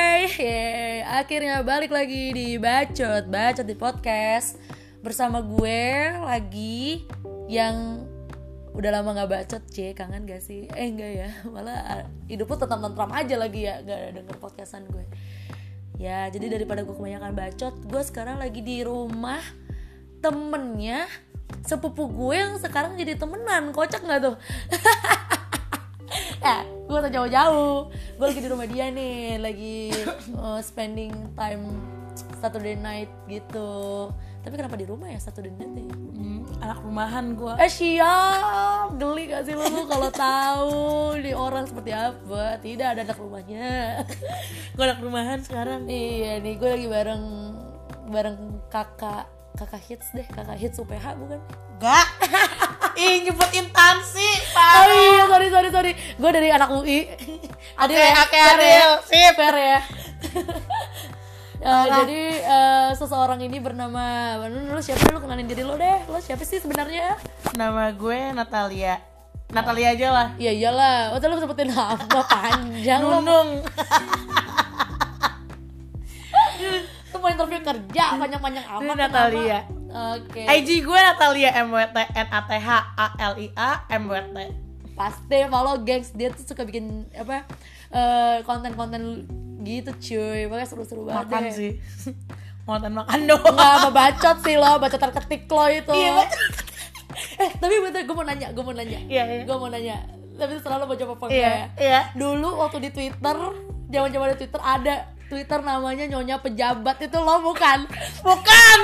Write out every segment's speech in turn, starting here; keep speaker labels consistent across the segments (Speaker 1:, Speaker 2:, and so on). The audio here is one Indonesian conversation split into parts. Speaker 1: Yeay, akhirnya balik lagi di Bacot, Bacot di podcast Bersama gue lagi yang udah lama gak bacot C, kangen gak sih? Eh enggak ya, malah hidup lu tentram-tentram aja lagi ya, gak ada denger podcastan gue Ya, jadi daripada gue kebanyakan bacot, gue sekarang lagi di rumah temennya sepupu gue yang sekarang jadi temenan, kocak gak tuh? eh gue tak jauh-jauh gue lagi di rumah dia nih lagi uh, spending time Saturday night gitu tapi kenapa di rumah ya Saturday night ya
Speaker 2: Hmm, anak rumahan gue
Speaker 1: eh siap geli gak sih lu lu kalau tahu di orang seperti apa tidak ada anak rumahnya
Speaker 2: gue anak rumahan sekarang
Speaker 1: iya nih gue lagi bareng bareng kakak kakak hits deh kakak hits UPH bukan
Speaker 2: gak ih nyebut intansi
Speaker 1: Oh
Speaker 2: pak
Speaker 1: iya, sorry sorry sorry. Gue dari anak UI. Adil
Speaker 2: Oke,
Speaker 1: ya?
Speaker 2: oke,
Speaker 1: Fair ya?
Speaker 2: adil. Sip.
Speaker 1: Fair ya. Eh, jadi eh, seseorang ini bernama lu, lu siapa lu kenalin diri lu deh lu siapa sih sebenarnya
Speaker 2: nama gue Natalia Natalia aja lah
Speaker 1: iya iyalah waktu lu sebutin nama panjang lu
Speaker 2: Nunung
Speaker 1: tuh mau interview kerja panjang-panjang amat
Speaker 2: Ini
Speaker 1: kenapa?
Speaker 2: Natalia.
Speaker 1: oke
Speaker 2: IG gue Natalia M W T N A T H A L I A M W T
Speaker 1: pasti follow gengs dia tuh suka bikin apa eh, konten-konten gitu cuy makanya seru-seru banget
Speaker 2: makan
Speaker 1: deh.
Speaker 2: sih makan makan doang
Speaker 1: nggak apa bacot sih lo bacot terketik lo itu
Speaker 2: Iya, bacot
Speaker 1: eh tapi bentar gue mau nanya gue mau nanya
Speaker 2: Iya, iya.
Speaker 1: gue mau nanya tapi selalu mau jawab apa enggak
Speaker 2: iya
Speaker 1: ya
Speaker 2: iya
Speaker 1: dulu waktu di twitter zaman zaman di twitter ada twitter namanya nyonya pejabat itu lo bukan
Speaker 2: bukan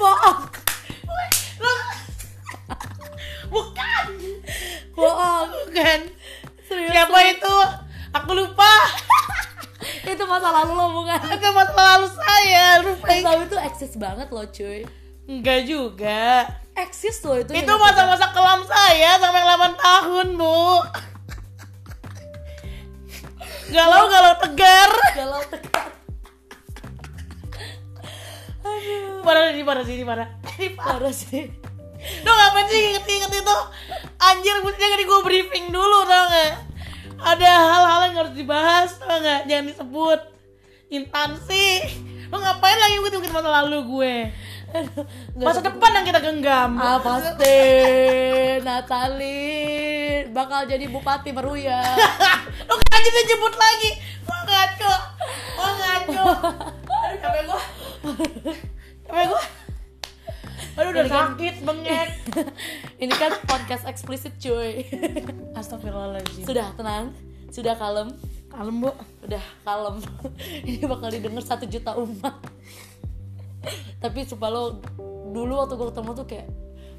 Speaker 1: bohong
Speaker 2: bukan
Speaker 1: bohong
Speaker 2: bukan
Speaker 1: serius
Speaker 2: siapa itu aku lupa
Speaker 1: itu masa lalu lo bukan
Speaker 2: itu masa lalu saya lupa
Speaker 1: tapi itu eksis banget lo cuy
Speaker 2: enggak juga
Speaker 1: eksis lo itu
Speaker 2: Iya. Itu
Speaker 1: Nyonya Pejabat.
Speaker 2: masa-masa kelam saya sampai 8 tahun, Bu. Galau-galau tegar.
Speaker 1: galau tekan
Speaker 2: Parah ini, parah sini, parah. Ini parah.
Speaker 1: parah sih
Speaker 2: Duh, ngapain sih inget-inget itu? Anjir, mestinya gak gue briefing dulu, tau gak? Ada hal-hal yang harus dibahas, tau gak? Jangan disebut. Intansi. Lo ngapain lagi ngikutin masa lalu gue?
Speaker 1: Nggak
Speaker 2: Masa depan yang kita genggam.
Speaker 1: Ah pasti Natali bakal jadi bupati ya. Meruya.
Speaker 2: lu ngaji dia jemput lagi gua ngaco gua ngaco aduh capek gua capek gua aduh udah
Speaker 1: Ini kan-
Speaker 2: sakit bengek
Speaker 1: Ini kan podcast eksplisit cuy.
Speaker 2: astagfirullahaladzim
Speaker 1: Sudah tenang, sudah kalem,
Speaker 2: kalem bu
Speaker 1: udah kalem. Ini bakal didengar satu juta umat. Tapi sumpah lo dulu waktu gue ketemu tuh kayak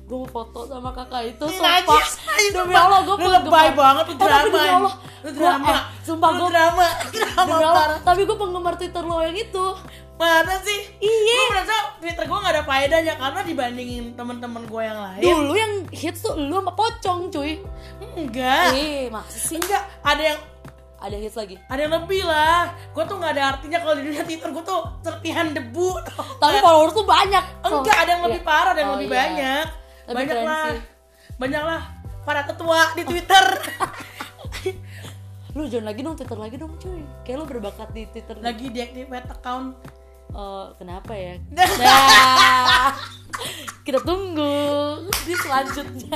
Speaker 1: gue mau foto sama kakak itu sumpah
Speaker 2: najis, najis,
Speaker 1: demi
Speaker 2: sumpah.
Speaker 1: Allah gue
Speaker 2: Lu lebay banget, lu drama,
Speaker 1: demi
Speaker 2: ya.
Speaker 1: Allah
Speaker 2: Lu
Speaker 1: gua-
Speaker 2: drama.
Speaker 1: eh, sumpah
Speaker 2: Lu
Speaker 1: gue
Speaker 2: drama drama parah
Speaker 1: tapi gue penggemar Twitter lo yang itu
Speaker 2: mana sih
Speaker 1: Iya.
Speaker 2: gua merasa twitter gua gak ada faedahnya karena dibandingin teman-teman gua yang lain
Speaker 1: dulu yang hits tuh lu sama pocong cuy
Speaker 2: enggak
Speaker 1: Ih, maksud sih
Speaker 2: enggak ada yang
Speaker 1: ada hits lagi.
Speaker 2: ada yang lebih lah gue tuh nggak ada artinya kalau di dunia twitter gue tuh serpihan debu
Speaker 1: Tapi followers tuh banyak.
Speaker 2: Enggak, ada yang lebih
Speaker 1: Iya.
Speaker 2: parah, ada yang
Speaker 1: Oh,
Speaker 2: lebih
Speaker 1: iya.
Speaker 2: banyak.
Speaker 1: Lebih
Speaker 2: banyak
Speaker 1: keren
Speaker 2: lah.
Speaker 1: sih.
Speaker 2: Banyak lah para ketua di Twitter.
Speaker 1: Lu jangan lagi dong Twitter lagi dong, cuy. Kayak lu berbakat di Twitter. Lagi.
Speaker 2: Lagi deactivate account.
Speaker 1: kenapa ya? Nah, kita tunggu di selanjutnya.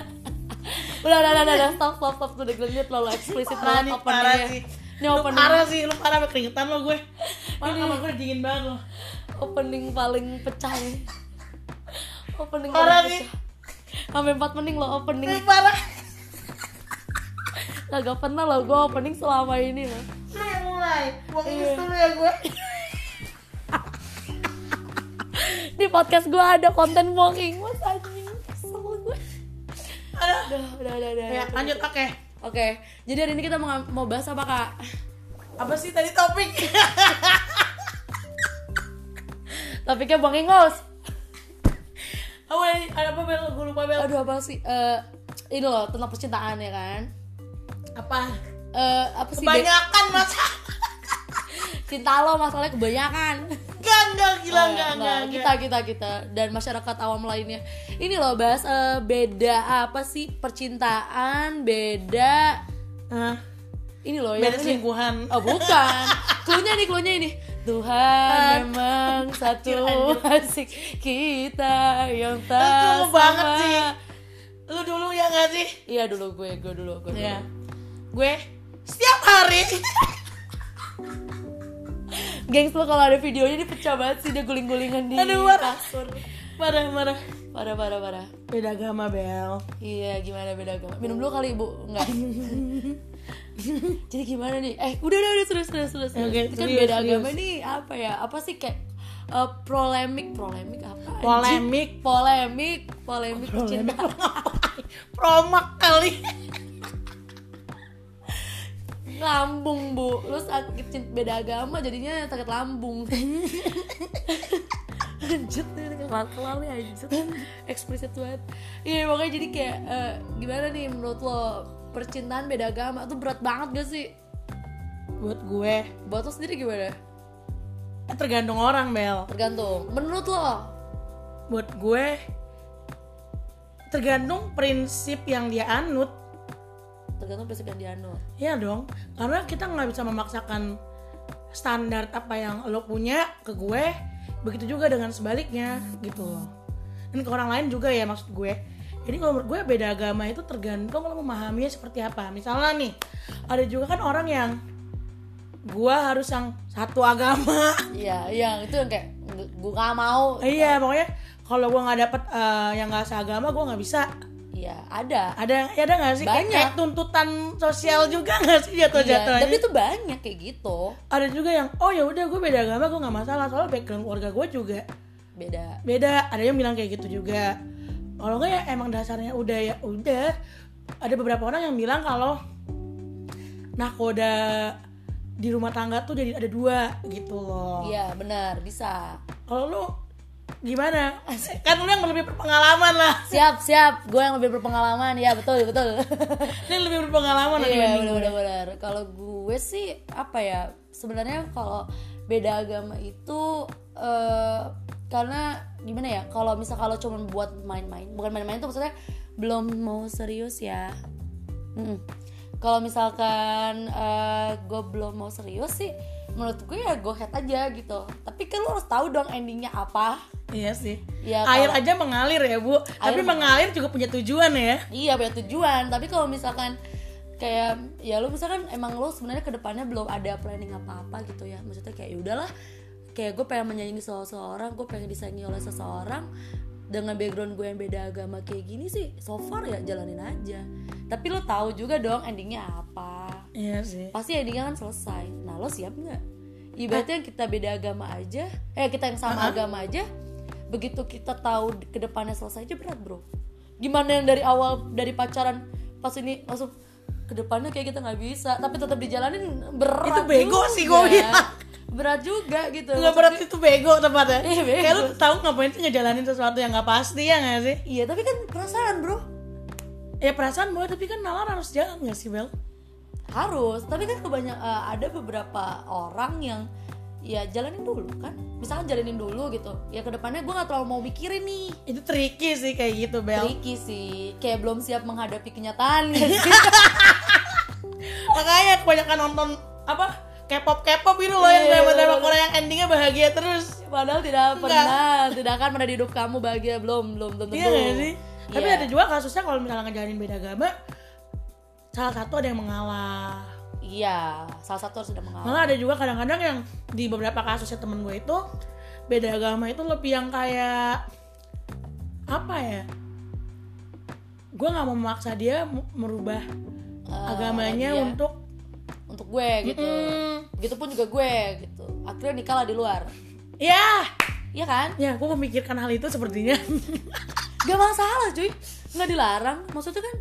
Speaker 1: udah, udah, udah, udah, udah. stop, stop, stop. Udah gue liat lo, lo eksplisit banget
Speaker 2: Parah nih,
Speaker 1: openingnya.
Speaker 2: parah sih.
Speaker 1: Ini
Speaker 2: Lu
Speaker 1: opening,
Speaker 2: parah sih, lu parah sampai keringetan lo gue. Mana kamar gue udah dingin banget lo.
Speaker 1: opening paling pecah nih. Opening paling
Speaker 2: Parah nih.
Speaker 1: pecah. Sampai 4 menit lo opening.
Speaker 2: Ini parah.
Speaker 1: Kagak pernah lo gue opening selama ini lo.
Speaker 2: Lu yang mulai. Buang ini dulu ya gue.
Speaker 1: di podcast gue ada konten mocking mas anjing kesel gue
Speaker 2: Aduh.
Speaker 1: udah udah udah, udah.
Speaker 2: Ya, lanjut oke.
Speaker 1: oke jadi hari ini kita mau mau bahas apa kak
Speaker 2: Apa sih tadi topik?
Speaker 1: topiknya mocking house
Speaker 2: Apa yang- ada apa bel? Gue lupa bel.
Speaker 1: aduh apa sih Eh, ini loh tentang percintaan ya kan
Speaker 2: Apa?
Speaker 1: Eh, apa sih Be?
Speaker 2: Kebanyakan masa.
Speaker 1: cinta lo masalahnya kebanyakan
Speaker 2: Enggak, enggak, gila,
Speaker 1: Oh,
Speaker 2: enggak, enggak, enggak.
Speaker 1: kita kita kita dan masyarakat awam lainnya ini loh bahas eh, beda apa sih percintaan beda
Speaker 2: Hah?
Speaker 1: ini loh yang
Speaker 2: Beda
Speaker 1: ini.
Speaker 2: selingkuhan.
Speaker 1: Oh bukan Klunya nih, klunya ini. Tuhan memang satu asik kita yang tak
Speaker 2: Itu banget
Speaker 1: Oh, iya, sama.
Speaker 2: sih. Lu dulu ya gak sih?
Speaker 1: Iya dulu gue, gue dulu, gue dulu.
Speaker 2: Iya. Gue setiap hari
Speaker 1: Gengs lo kalau ada videonya dia pecah banget sih dia guling-gulingan di
Speaker 2: Aduh, parah.
Speaker 1: kasur.
Speaker 2: marah-marah.
Speaker 1: Parah parah parah.
Speaker 2: Beda agama, Bel.
Speaker 1: Iya gimana beda agama Minum dulu kali ibu Enggak Jadi gimana nih Eh udah udah udah serius serius serius serius.
Speaker 2: Oke,
Speaker 1: Itu kan
Speaker 2: serius,
Speaker 1: beda
Speaker 2: serius.
Speaker 1: agama nih apa ya Apa sih kayak eh, Polemik Polemik apa anjing?
Speaker 2: Polemik.
Speaker 1: Polemik Polemik percintaan
Speaker 2: Promak kali.
Speaker 1: Lambung bu Lu sakit cint- beda agama jadinya sakit lambung Lanjut nih kelar-kelar nih lanjut Eksplisit banget Iya makanya jadi kayak eh, Gimana nih menurut lo Percintaan beda agama tuh berat banget gak sih
Speaker 2: Buat gue,
Speaker 1: Buat lo sendiri gimana?
Speaker 2: tergantung orang, Bel.
Speaker 1: Tergantung. Menurut lo?
Speaker 2: Buat gue, tergantung prinsip yang dia anut.
Speaker 1: Tergantung prinsip yang dianut.
Speaker 2: Iya dong, karena kita nggak bisa memaksakan standar apa yang lo punya ke gue, begitu juga dengan sebaliknya gitu loh. Dan ke orang lain juga ya maksud gue. Jadi kalau menurut gue beda agama itu tergantung lo memahaminya seperti apa. Misalnya nih, ada juga kan orang yang gue harus yang satu agama.
Speaker 1: Iya, yang itu yang kayak "Nggak, gua gak mau.
Speaker 2: iya, pokoknya kalau gue nggak dapet eh, yang nggak seagama gue nggak bisa.
Speaker 1: Iya, ada.
Speaker 2: Ada yang ada nggak sih Kayak-
Speaker 1: Banyak.
Speaker 2: kayak tuntutan sosial juga nggak sih jatuh-jatuhnya?
Speaker 1: Iya, tapi itu banyak kayak gitu.
Speaker 2: ada juga yang oh ya udah gue beda agama gue nggak masalah soalnya background keluarga gue juga
Speaker 1: Beda.
Speaker 2: beda ada yang bilang kayak gitu juga kalau nggak ya emang dasarnya udah ya udah ada beberapa orang yang bilang kalau nakoda di rumah tangga tuh jadi ada dua gitu loh
Speaker 1: Iya, benar, bisa.
Speaker 2: kalau lu gimana kan lu yang lebih berpengalaman lah
Speaker 1: Siap, siap. Gue yang lebih berpengalaman. Ya, betul, betul.
Speaker 2: ini lebih berpengalaman lah
Speaker 1: Iya,
Speaker 2: dibanding gue.
Speaker 1: benar-benar. Kalau gue sih apa ya? Sebenarnya kalau beda agama itu eh, karena gimana ya? Kalau misal kalau cuma buat main-main, bukan main-main tuh maksudnya belum mau serius ya. Mm-mm. Kalau misalkan eh, gue belum mau serius sih, menurut gue ya go head aja gitu. Tapi kan lo harus tahu dong endingnya apa.
Speaker 2: iya sih
Speaker 1: Iya,
Speaker 2: air aja mengalir ya bu tapi mengalir juga punya tujuan ya
Speaker 1: Iya punya tujuan, tapi kalau misalkan kayak ya lu misalkan emang lu sebenarnya kedepannya belum ada planning apa-apa gitu ya maksudnya kayak ya udahlah kayak gue pengen menyayangi seseorang gue pengen disayangi oleh seseorang dengan background gue yang beda agama kayak gini sih so far ya jalanin aja tapi lo tahu juga dong endingnya apa
Speaker 2: iya sih
Speaker 1: pasti endingnya kan selesai nah lo siap nggak ibaratnya yang kita beda agama aja eh kita yang sama agama aja begitu kita tahu di- kedepannya selesai aja berat bro gimana yang dari awal dari pacaran pas ini langsung kedepannya kayak kita nggak bisa tapi tetap dijalanin berat
Speaker 2: Itu bego
Speaker 1: juga.
Speaker 2: sih gua bilang.
Speaker 1: berat juga gitu
Speaker 2: Nggak berat itu bego tempatnya
Speaker 1: Iya, bego.
Speaker 2: Kayak lu tahu ngapain sih ngejalanin sesuatu yang nggak pasti ya nggak sih?
Speaker 1: iya tapi kan perasaan bro
Speaker 2: Ya perasaan boleh tapi kan nalar harus jalan nggak sih Bel?
Speaker 1: harus tapi kan kebanyak eh, ada beberapa orang yang ya jalanin dulu kan misalkan jalanin dulu gitu ya kedepannya gue nggak terlalu mau mikirin nih
Speaker 2: Itu tricky sih kayak gitu Bel
Speaker 1: tricky sih kayak belum siap menghadapi kenyataan gak sih?
Speaker 2: Makanya kebanyakan nonton apa K-pop K-pop gitu loh yang
Speaker 1: Iya,
Speaker 2: drama-drama
Speaker 1: bener.
Speaker 2: Korea yang endingnya bahagia terus
Speaker 1: padahal tidak pernah tidak akan pernah di hidup kamu bahagia belum belum tentu
Speaker 2: Iya nggak sih? Tapi
Speaker 1: Iya.
Speaker 2: ada juga kasusnya kalau misalnya ngejalanin beda agama Salah satu ada yang mengalah
Speaker 1: iya salah satu harus sudah mengalah
Speaker 2: Malah ada juga kadang-kadang yang di beberapa kasusnya temen gue itu beda agama itu lebih yang kayak apa ya? Gue nggak mau memaksa dia mu- merubah
Speaker 1: Eh,
Speaker 2: agamanya
Speaker 1: iya.
Speaker 2: untuk
Speaker 1: untuk gue gitu
Speaker 2: Mm,
Speaker 1: begitupun juga gue gitu akhirnya nikah lah di luar
Speaker 2: ya,
Speaker 1: iya kan
Speaker 2: ya gue memikirkan hal itu sepertinya.
Speaker 1: gak masalah cuy nggak dilarang maksudnya kan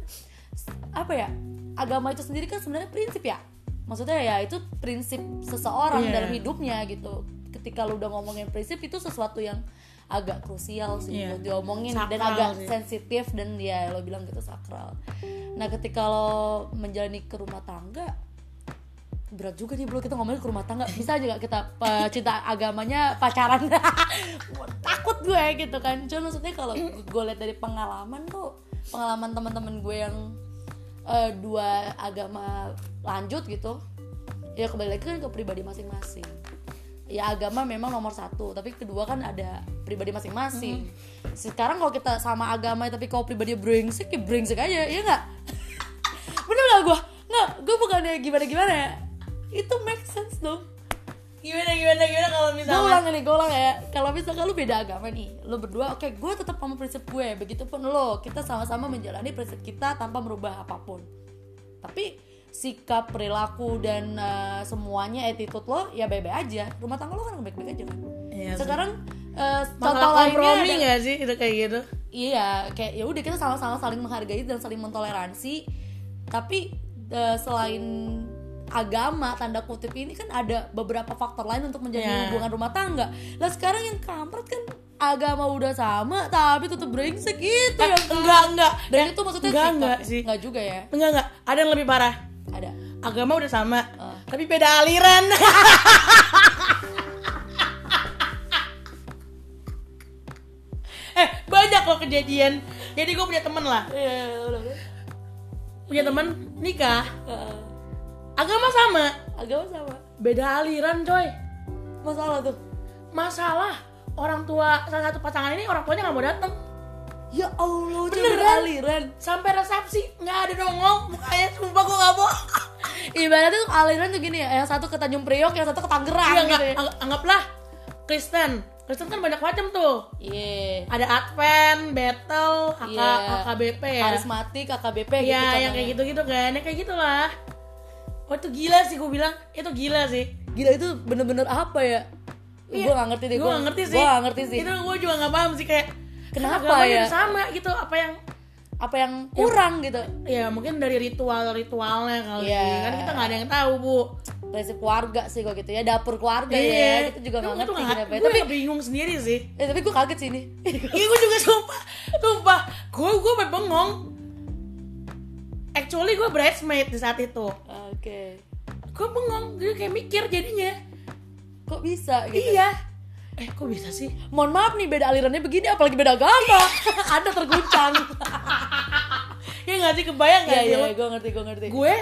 Speaker 1: apa ya agama itu sendiri kan sebenarnya prinsip ya maksudnya ya itu prinsip seseorang
Speaker 2: Iya.
Speaker 1: dalam hidupnya gitu ketika lu udah ngomongin prinsip itu sesuatu yang agak krusial sih
Speaker 2: Iya.
Speaker 1: buat diomongin dan
Speaker 2: Sakral
Speaker 1: agak
Speaker 2: sih.
Speaker 1: sensitif dan dia lo bilang gitu sakral nah ketika lo menjalani ke rumah tangga berat juga nih bro kita ngomongin ke rumah tangga bisa aja gak kita pe- cinta agamanya pacaran takut gue gitu kan cuman maksudnya kalau gue lihat dari pengalaman tuh pengalaman teman-teman gue yang eh, dua agama lanjut gitu ya kembali lagi kan ke pribadi masing-masing ya agama memang nomor satu tapi kedua kan ada pribadi masing-masing sekarang kalau kita sama agama tapi kalau pribadi brengsek ya brengsek aja ya nggak bener nggak gue nggak gue bukannya gimana gimana ya itu make sense dong
Speaker 2: gimana gimana gimana kalau
Speaker 1: gue
Speaker 2: misalnya
Speaker 1: ulang nih gue ulang ya kalau misalkan lu beda agama nih lu berdua oke gue tetap sama prinsip gue begitupun lo kita sama-sama menjalani prinsip kita tanpa merubah apapun tapi sikap perilaku dan eh, semuanya attitude lo ya baik-baik aja rumah tangga lo kan baik-baik aja kan
Speaker 2: Iya,
Speaker 1: sekarang eh, contoh
Speaker 2: masalah
Speaker 1: lainnya
Speaker 2: kompromi
Speaker 1: ada-
Speaker 2: nggak sih itu kayak gitu
Speaker 1: iya kayak ya udah kita sama-sama saling menghargai dan saling mentoleransi tapi eh, selain agama tanda kutip ini kan ada beberapa faktor lain untuk menjadi
Speaker 2: Ya.
Speaker 1: hubungan rumah tangga lah sekarang yang kampret kan agama udah sama tapi tetap brengsek gitu ya kan?
Speaker 2: Iya, enggak enggak
Speaker 1: dan itu maksudnya
Speaker 2: enggak,
Speaker 1: sikap
Speaker 2: enggak
Speaker 1: ya?
Speaker 2: sih.
Speaker 1: Enggak juga ya
Speaker 2: enggak enggak ada yang lebih parah
Speaker 1: ada
Speaker 2: agama udah sama
Speaker 1: Ah.
Speaker 2: tapi beda aliran eh banyak kok kejadian jadi gue punya temen lah
Speaker 1: Iya,
Speaker 2: punya temen nikah
Speaker 1: Heeh.
Speaker 2: agama sama
Speaker 1: Eh, agama sama
Speaker 2: beda aliran coy
Speaker 1: masalah tuh
Speaker 2: masalah orang tua salah satu pasangan ini orang tuanya nggak mau datang
Speaker 1: ya allah
Speaker 2: Beneran.
Speaker 1: beneran aliran
Speaker 2: sampai resepsi nggak ada nongol mukanya sumpah gue nggak bohong
Speaker 1: ibaratnya tuh aliran tuh gini ya yang satu ke Tanjung Priok yang satu ke Tangerang
Speaker 2: Iya,
Speaker 1: gitu
Speaker 2: nggak-
Speaker 1: ya
Speaker 2: angg- anggaplah Kristen Kristen kan banyak macam tuh
Speaker 1: Iya.
Speaker 2: ada Advent, Battle, AK,
Speaker 1: Iya.
Speaker 2: AKBP ya.
Speaker 1: karismatik KKBP gitu
Speaker 2: Iya, yang kayak
Speaker 1: contohnya.
Speaker 2: gitu-gitu kan, yang kayak gitulah. Oh itu gila sih gue bilang, itu gila sih.
Speaker 1: gila itu bener-bener apa ya gue gak ngerti deh
Speaker 2: Gue gak Iya. ngerti sih.
Speaker 1: gue gak ngerti sih
Speaker 2: Itu gue juga gak paham sih kayak
Speaker 1: Kenapa
Speaker 2: agamanya
Speaker 1: ya?
Speaker 2: udah sama gitu apa yang
Speaker 1: apa yang
Speaker 2: Iya.
Speaker 1: kurang gitu
Speaker 2: ya mungkin dari ritual-ritualnya kali
Speaker 1: Iya.
Speaker 2: kan kita nggak ada yang tahu bu Iya.
Speaker 1: prinsip keluarga sih kok gitu ya dapur keluarga ya kita juga gak
Speaker 2: Itu- itu
Speaker 1: ngerti
Speaker 2: nggak-
Speaker 1: kenapa ya.
Speaker 2: gue
Speaker 1: tapi
Speaker 2: yang bingung sendiri sih
Speaker 1: eh, tapi gue kaget sih ini
Speaker 2: Iya gue juga sumpah Sumpah Gue gue sampe bengong Actually gue bridesmaid di saat itu
Speaker 1: oke
Speaker 2: Gue bengong Gue kayak mikir jadinya
Speaker 1: kok bisa gitu
Speaker 2: Iya Eh kok bisa sih?
Speaker 1: mohon maaf nih beda alirannya begini apalagi beda agama anda terguncang
Speaker 2: Ya gak sih kebayang gak
Speaker 1: iya
Speaker 2: sih
Speaker 1: iya
Speaker 2: lo?
Speaker 1: gue ngerti gue ngerti
Speaker 2: Gue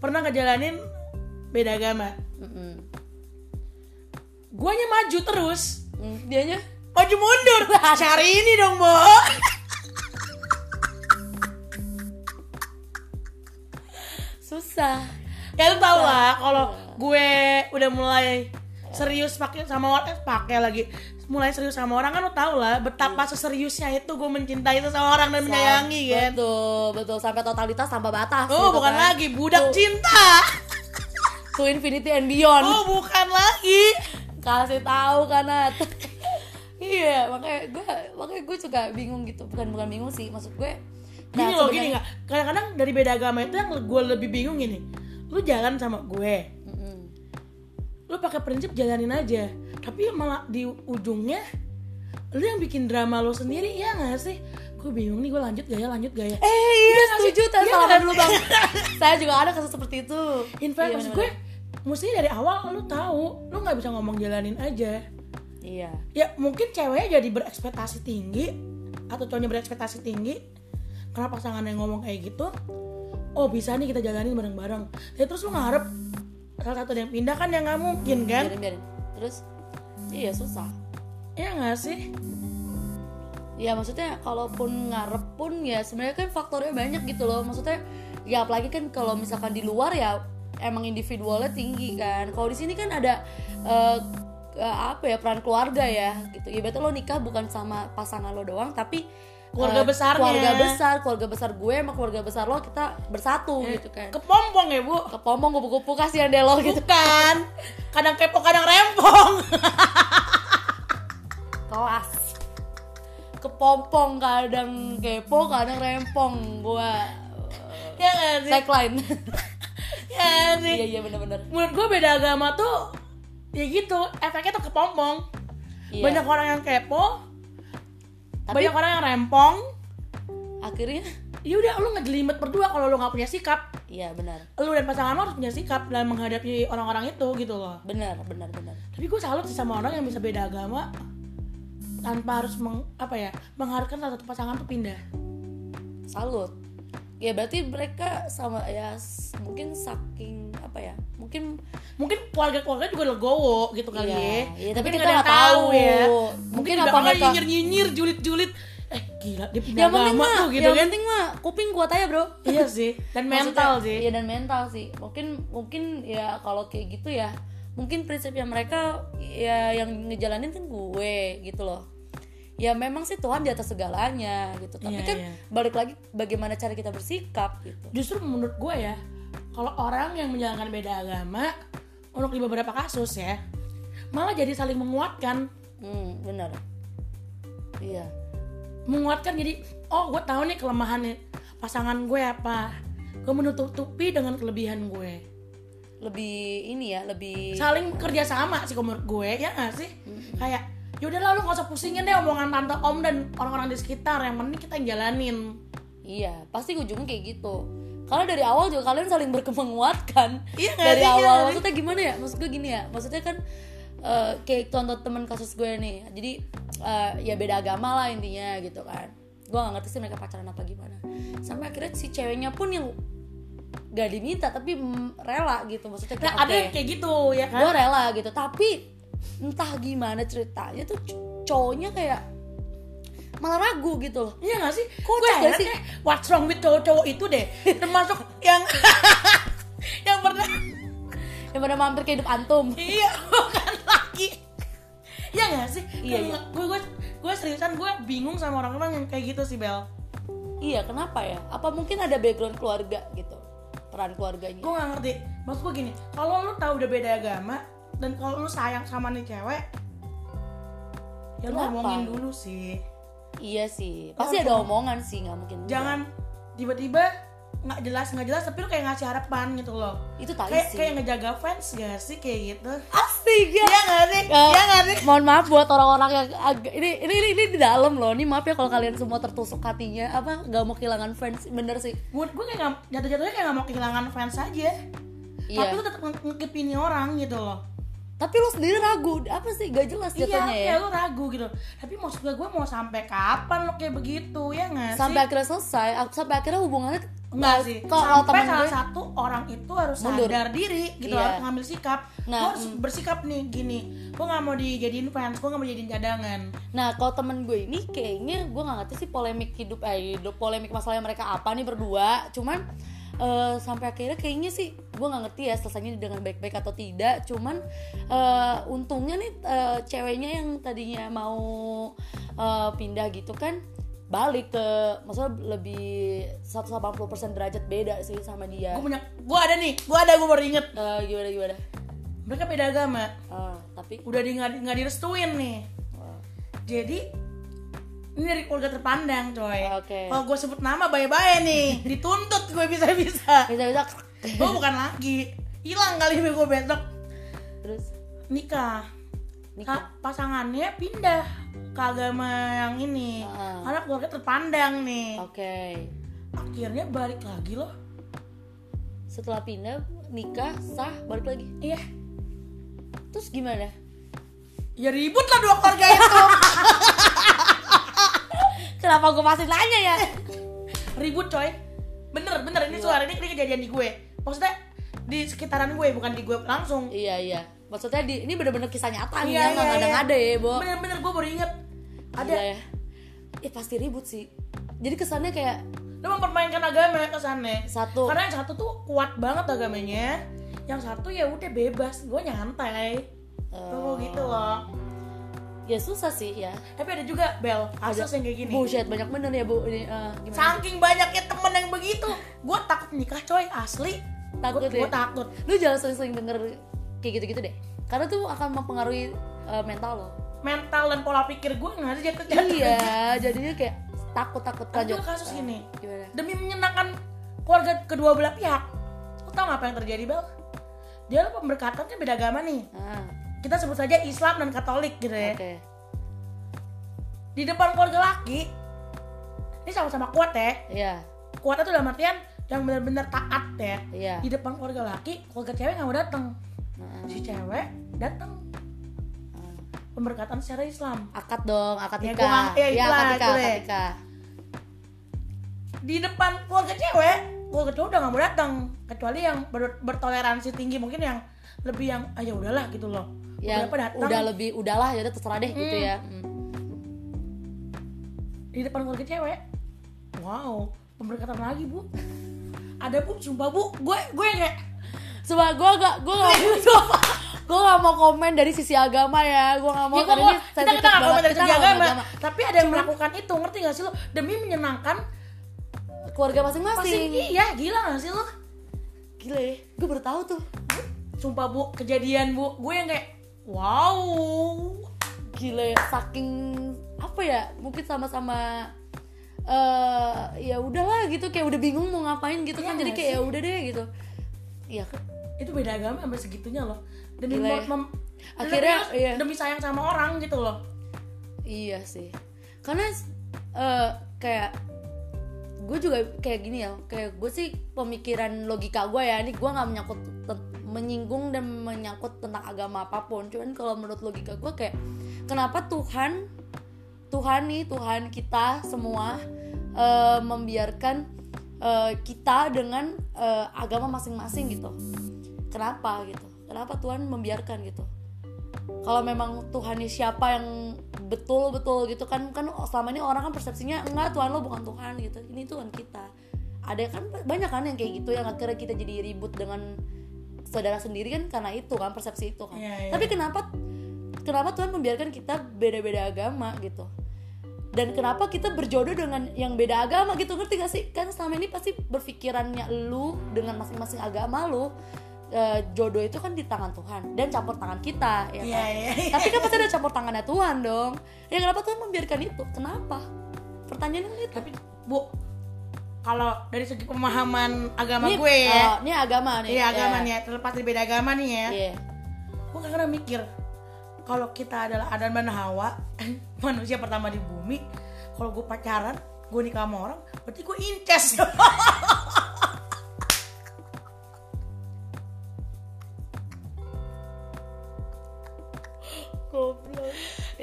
Speaker 2: pernah ngejalanin beda agama
Speaker 1: Mm-mm.
Speaker 2: Guanya maju terus
Speaker 1: Mm, dianya
Speaker 2: Maju mundur Cari ini dong Bo
Speaker 1: susah
Speaker 2: Ya lu tau lah kalau gue udah mulai serius pakai sama orang eh, pakai lagi mulai serius sama orang kan lu tau lah betapa seseriusnya itu gue mencintai seseorang dan menyayangi kan
Speaker 1: betul betul sampai totalitas tanpa batas
Speaker 2: oh
Speaker 1: gitu
Speaker 2: bukan
Speaker 1: kan.
Speaker 2: lagi budak
Speaker 1: Tuh.
Speaker 2: cinta
Speaker 1: to infinity and beyond
Speaker 2: oh bukan lagi
Speaker 1: kasih tahu kanat iya makanya gue makanya gue suka bingung gitu bukan bukan bingung sih maksud gue nah,
Speaker 2: gini loh
Speaker 1: sebenarnya-
Speaker 2: gini nggak kadang-kadang dari beda agama itu yang gue lebih bingung gini lu jalan sama gue
Speaker 1: Mm-mm.
Speaker 2: lu pakai prinsip jalanin aja tapi malah di ujungnya lu yang bikin drama lu sendiri ya nggak sih gue bingung nih gue lanjut gak ya lanjut gak ya
Speaker 1: eh iya
Speaker 2: nggak sih?
Speaker 1: setuju
Speaker 2: Iya
Speaker 1: saya salah
Speaker 2: nggak
Speaker 1: dulu
Speaker 2: sih?
Speaker 1: bang saya juga ada kasus seperti itu
Speaker 2: In fact,
Speaker 1: Iya,
Speaker 2: maksud gue
Speaker 1: bener-bener.
Speaker 2: mestinya dari awal lu tahu lu nggak bisa ngomong jalanin aja
Speaker 1: iya
Speaker 2: ya mungkin ceweknya jadi berekspektasi tinggi atau cowoknya berekspektasi tinggi karena pasangan yang ngomong kayak gitu oh bisa nih kita jalanin bareng-bareng ya terus lu ngarep salah satu ada yang pindah kan ya nggak mungkin kan
Speaker 1: biarin biarin terus iya susah
Speaker 2: ya nggak sih
Speaker 1: ya maksudnya kalaupun ngarep pun ya sebenarnya kan faktornya banyak gitu loh maksudnya ya apalagi kan kalau misalkan di luar ya emang individualnya tinggi kan kalau di sini kan ada eh, eh, apa ya peran keluarga ya gitu ibaratnya lo nikah bukan sama pasangan lo doang tapi eh,
Speaker 2: Keluarga besarnya.
Speaker 1: keluarga besar keluarga besar gue sama keluarga besar lo kita bersatu
Speaker 2: Eh,
Speaker 1: gitu kan
Speaker 2: kepompong ya bu
Speaker 1: kepompong kupu-kupu kasihan deh lo gitu
Speaker 2: bukan kadang kepo kadang rempong
Speaker 1: kelas kepompong kadang kepo kadang rempong gue
Speaker 2: ya nggak sih
Speaker 1: tagline
Speaker 2: ya nggak sih
Speaker 1: iya iya bener-bener
Speaker 2: menurut gue beda agama tuh ya gitu efeknya tuh kepompong
Speaker 1: Iya.
Speaker 2: banyak orang yang kepo
Speaker 1: Tapi-
Speaker 2: banyak orang yang rempong
Speaker 1: akhirnya
Speaker 2: ya udah lu ngejelimet berdua kalau lu nggak punya sikap
Speaker 1: iya benar
Speaker 2: lu dan pasangan lu harus punya sikap dalam menghadapi orang-orang itu gitu loh
Speaker 1: benar benar benar
Speaker 2: tapi gue salut sih sama orang yang bisa beda agama tanpa harus meng, apa ya mengharapkan salah satu pasangan tuh pindah
Speaker 1: salut ya berarti mereka sama ya s- mungkin saking apa apa ya mungkin
Speaker 2: mungkin keluarga-keluarga juga legowo gitu kali
Speaker 1: Iya,
Speaker 2: ya.
Speaker 1: iya, tapi
Speaker 2: nggak
Speaker 1: kita
Speaker 2: ada yang ya.
Speaker 1: nggak tahu.
Speaker 2: Mungkin,
Speaker 1: Mungkin
Speaker 2: di
Speaker 1: apa
Speaker 2: belakangnya
Speaker 1: mereka-
Speaker 2: nyinyir-nyinyir, julid-julid. Eh gila dia pindah
Speaker 1: yang penting
Speaker 2: agama
Speaker 1: mah
Speaker 2: tuh gitu
Speaker 1: yang
Speaker 2: kan.
Speaker 1: penting mah kuping kuat aja bro
Speaker 2: Iya sih, dan mental
Speaker 1: Maksudnya,
Speaker 2: sih.
Speaker 1: Iya dan mental sih. Mungkin mungkin ya kalau kayak gitu ya, mungkin prinsipnya mereka ya yang ngejalanin kan gue gitu loh. Ya memang sih Tuhan di atas segalanya gitu. Tapi
Speaker 2: Iya,
Speaker 1: kan
Speaker 2: iya.
Speaker 1: balik lagi bagaimana cara kita bersikap gitu.
Speaker 2: Justru menurut gue ya, kalau orang yang menjalankan beda agama untuk di beberapa kasus ya, malah jadi saling menguatkan,
Speaker 1: Hmm, benar. Iya.
Speaker 2: menguatkan jadi oh gue tahu nih kelemahannya pasangan gue apa, gue menutup-tupi dengan kelebihan gue.
Speaker 1: Lebih ini ya, lebih
Speaker 2: saling kerja sama sih kalau menurut gue ya gak sih kayak yaudah lah lu gak usah pusingin deh omongan tante om dan orang-orang di sekitar yang penting kita yang jalanin
Speaker 1: Iya, pasti ujungnya kayak gitu. Karena dari awal juga kalian saling berkemenguatkan.
Speaker 2: Iya nggak
Speaker 1: dari
Speaker 2: sih,
Speaker 1: awal.
Speaker 2: iya nggak sih?
Speaker 1: Maksudnya gimana ya? Maksud gue gini ya. Maksudnya kan eh, kayak contoh teman kasus gue nih. Jadi eh, ya beda agama lah intinya gitu kan. Gue gak ngerti sih mereka pacaran apa gimana. Sampai akhirnya si ceweknya pun yang gak diminta tapi mm, rela gitu. Maksudnya
Speaker 2: nah
Speaker 1: kayak
Speaker 2: ada yang kayak gitu ya kan
Speaker 1: gue rela gitu. Tapi entah gimana ceritanya tuh c- cowoknya kayak malah ragu gitu loh.
Speaker 2: iya gak sih
Speaker 1: Kocak
Speaker 2: gue
Speaker 1: nggak
Speaker 2: heran
Speaker 1: sih?
Speaker 2: deh what's wrong with cowok-cowok itu deh termasuk yang yang pernah
Speaker 1: Yang pada mampir ke hidup antum.
Speaker 2: iya bukan lagi Iya gak sih
Speaker 1: Iya, iya.
Speaker 2: gue gue gue seriusan gue bingung sama orang-orang yang kayak gitu sih Bel
Speaker 1: Iya, kenapa ya? Apa mungkin ada background keluarga gitu? Peran keluarganya.
Speaker 2: gue gak ngerti maksud gue gini kalau lu tahu udah beda agama dan kalau lu sayang sama nih cewek ya lu
Speaker 1: Kenapa?
Speaker 2: ngomongin dulu sih
Speaker 1: Iya sih. Pasti ada omongan sih, nggak mungkin. enggak.
Speaker 2: jangan tiba-tiba nggak jelas nggak jelas tapi lu kayak ngasih harapan gitu loh
Speaker 1: Itu tai
Speaker 2: kayak
Speaker 1: sih.
Speaker 2: kayak ngejaga fans gak sih kayak gitu
Speaker 1: Astaga.
Speaker 2: iya gak sih
Speaker 1: Eh,
Speaker 2: iya gak sih
Speaker 1: mohon maaf buat orang-orang yang agak ini, ini ini ini di dalam loh. Ini maaf ya kalau kalian semua tertusuk hatinya apa nggak mau kehilangan fans. Bener sih.
Speaker 2: gue gue kayak nggak- jatuh-jatuhnya kayak gak mau kehilangan fans aja tapi
Speaker 1: Iya.
Speaker 2: lu tetap nge- ngekip ini orang gitu loh
Speaker 1: Tapi lo sendiri ragu. Apa sih gak jelas jatuhnya
Speaker 2: iya, kayak
Speaker 1: ya?
Speaker 2: lu ragu gitu tapi maksud gue gue mau sampai kapan lo kayak begitu ya gak sih
Speaker 1: Sampai akhirnya selesai, ak- sampai akhirnya hubungannya
Speaker 2: Enggak sih.
Speaker 1: Kalau temen
Speaker 2: Sampai salah
Speaker 1: gue,
Speaker 2: satu orang itu harus
Speaker 1: Mundur.
Speaker 2: sadar diri gitu
Speaker 1: Iya.
Speaker 2: harus ngambil sikap. Gua
Speaker 1: Nah,
Speaker 2: harus bersikap nih gini. Gue nggak mau dijadiin fans, gue nggak mau jadiin cadangan.
Speaker 1: Nah, kalau temen gue ini kayaknya gue nggak ngerti sih polemik hidup eh hidup polemik masalahnya mereka apa nih berdua. Cuman eh, sampai akhirnya kayaknya sih gue nggak ngerti ya selesainya dengan baik-baik atau tidak. Cuman eh, untungnya nih eh, ceweknya yang tadinya mau eh, pindah gitu kan balik ke maksudnya lebih 180% derajat beda sih sama dia.
Speaker 2: Gue punya, gue ada nih, gue ada gue baru inget.
Speaker 1: Eh, gimana gimana?
Speaker 2: Mereka beda agama,
Speaker 1: Eh, tapi
Speaker 2: udah di nggak nggak direstuin nih.
Speaker 1: eh,
Speaker 2: Jadi ini dari keluarga terpandang coy.
Speaker 1: Oke.
Speaker 2: Kalau gue sebut nama bye-bye nih, dituntut gue bisa-bisa.
Speaker 1: bisa-bisa
Speaker 2: gue bukan lagi, hilang kali gue besok
Speaker 1: terus
Speaker 2: nikah.
Speaker 1: nikah.
Speaker 2: Ka- pasangannya pindah ke agama yang ini
Speaker 1: Heeh.
Speaker 2: karena keluarga terpandang nih
Speaker 1: Oke.
Speaker 2: akhirnya balik lagi loh
Speaker 1: setelah pindah nikah sah balik lagi
Speaker 2: iya
Speaker 1: terus gimana
Speaker 2: ya ribut lah dua keluarga itu
Speaker 1: kenapa gue masih nanya ya
Speaker 2: ribut coy bener bener
Speaker 1: Iya.
Speaker 2: ini suara ini, ini kejadian di gue maksudnya di sekitaran gue bukan di gue langsung
Speaker 1: iya iya maksudnya di, ini bener-bener kisah nyata nih
Speaker 2: Iya,
Speaker 1: ya
Speaker 2: iya,
Speaker 1: nggak
Speaker 2: iya.
Speaker 1: ada ya bo
Speaker 2: bener bener gue baru inget ada
Speaker 1: Gila ya eh pasti ribut sih jadi kesannya kayak
Speaker 2: lu mempermainkan agama ya, kesannya
Speaker 1: Satu.
Speaker 2: karena yang satu tuh kuat banget agamanya yang satu ya udah bebas gue nyantai
Speaker 1: Oh.
Speaker 2: tuh gitu loh
Speaker 1: ya susah sih ya
Speaker 2: tapi ada juga bel kasus yang kayak gini
Speaker 1: bullshit banyak bener ya bu ini eh, gimana
Speaker 2: Saking banyaknya temen yang begitu, gue takut nikah coy asli.
Speaker 1: Takut ya?
Speaker 2: gue takut.
Speaker 1: lu jangan sering-sering denger kayak gitu-gitu deh karena tuh akan mempengaruhi eh, mental lo
Speaker 2: Mental dan pola pikir gue nggak ada jatuh jatuh.
Speaker 1: iya jadinya kayak takut-takut
Speaker 2: Ada
Speaker 1: lanjut
Speaker 2: juga Kan kasus gini.
Speaker 1: gimana
Speaker 2: Demi menyenangkan keluarga kedua belah pihak, lo tau nggak apa yang terjadi bel? Dia lo pemberkatannya beda agama nih.
Speaker 1: ah
Speaker 2: Kita sebut saja Islam dan Katolik gitu
Speaker 1: oke
Speaker 2: ya. Di depan keluarga laki, ini sama-sama kuat ya.
Speaker 1: iya
Speaker 2: Kuatnya tuh dalam artian yang benar-benar taat ya.
Speaker 1: iya Ah.
Speaker 2: Di depan keluarga laki, keluarga cewek nggak mau datang.
Speaker 1: Heeh.
Speaker 2: Si cewek datang pemberkatan secara Islam.
Speaker 1: akad dong akad
Speaker 2: Ya,
Speaker 1: nikah
Speaker 2: gua- ya, itulah,
Speaker 1: akad nikah
Speaker 2: itu
Speaker 1: akad
Speaker 2: deh.
Speaker 1: nikah
Speaker 2: di depan keluarga cewek keluarga cowok udah gak mau datang ke kecuali yang ber- bertoleransi tinggi mungkin yang lebih yang ah ya udahlah gitu loh
Speaker 1: yang
Speaker 2: Beberapa datang
Speaker 1: Ya, udah lebih udahlah ya udah terserah deh gitu ya Hmm.
Speaker 2: di depan keluarga cewek wow pemberkatan lagi bu ada bu sumpah bu gue gue yang kayak
Speaker 1: Sumpah gue gak gue gak gue gak mau komen dari sisi agama ya gue gak mau
Speaker 2: Ya,
Speaker 1: karena
Speaker 2: gua-
Speaker 1: ini
Speaker 2: kita
Speaker 1: sensitif
Speaker 2: kita nggak
Speaker 1: banget.
Speaker 2: komen dari
Speaker 1: Kita
Speaker 2: segi
Speaker 1: nggak
Speaker 2: agama,
Speaker 1: agama.
Speaker 2: tapi ada yang melakukan itu ngerti gak sih lo demi menyenangkan
Speaker 1: keluarga
Speaker 2: pasti
Speaker 1: masing-masing
Speaker 2: iya gila gak sih lo
Speaker 1: gila ya gue baru tahu tuh
Speaker 2: sumpah bu kejadian bu gue yang kayak wow
Speaker 1: gila ya saking apa ya mungkin sama-sama eh ya udahlah gitu kayak udah bingung mau ngapain gitu kan
Speaker 2: Iya
Speaker 1: jadi
Speaker 2: nggak
Speaker 1: kayak ya udah deh gitu ya
Speaker 2: itu beda agama sampai segitunya loh demi
Speaker 1: Gila ya.
Speaker 2: mem- mem-
Speaker 1: Akhirnya,
Speaker 2: demi-
Speaker 1: iya.
Speaker 2: demi sayang sama orang gitu loh
Speaker 1: Iya sih, karena eh, kayak gue juga kayak gini ya, kayak gue sih pemikiran logika gue ya, ini gue nggak menyangkut te- menyinggung dan menyangkut tentang agama apapun. Cuman kalau menurut logika gue kayak kenapa Tuhan Tuhan nih Tuhan kita semua eh, membiarkan eh, kita dengan eh, agama masing-masing gitu. Kenapa gitu? Kenapa Tuhan membiarkan gitu? kalau memang Tuhannya siapa yang betul-betul gitu kan kan selama ini orang kan persepsinya enggak Tuhan lo bukan Tuhan gitu ini Tuhan kita ada kan banyak kan yang kayak gitu yang akhirnya kita jadi ribut dengan saudara sendiri kan karena itu kan persepsi itu kan
Speaker 2: Iya, iya.
Speaker 1: tapi kenapa kenapa Tuhan membiarkan kita beda-beda agama gitu dan kenapa kita berjodoh dengan yang beda agama gitu ngerti gak sih kan selama ini pasti berpikirannya lu dengan masing-masing agama lu eh, jodoh itu kan di tangan Tuhan dan campur tangan kita ya kan?
Speaker 2: iya iya iya.
Speaker 1: Tapi kan pasti ada campur tangannya Tuhan dong. Ya kenapa Tuhan membiarkan itu? Kenapa? Pertanyaannya kan itu.
Speaker 2: tapi bu kalau dari segi pemahaman agama
Speaker 1: Ini,
Speaker 2: gue ya
Speaker 1: eh, ini agama nih.
Speaker 2: Iya agama nih ya, terlepas dari beda agama nih ya.
Speaker 1: Iya.
Speaker 2: Gue kadang mikir kalau kita adalah Adam dan Hawa, manusia pertama di bumi, kalau gue pacaran, gue nikah sama orang, berarti gue incest.
Speaker 1: Goblok.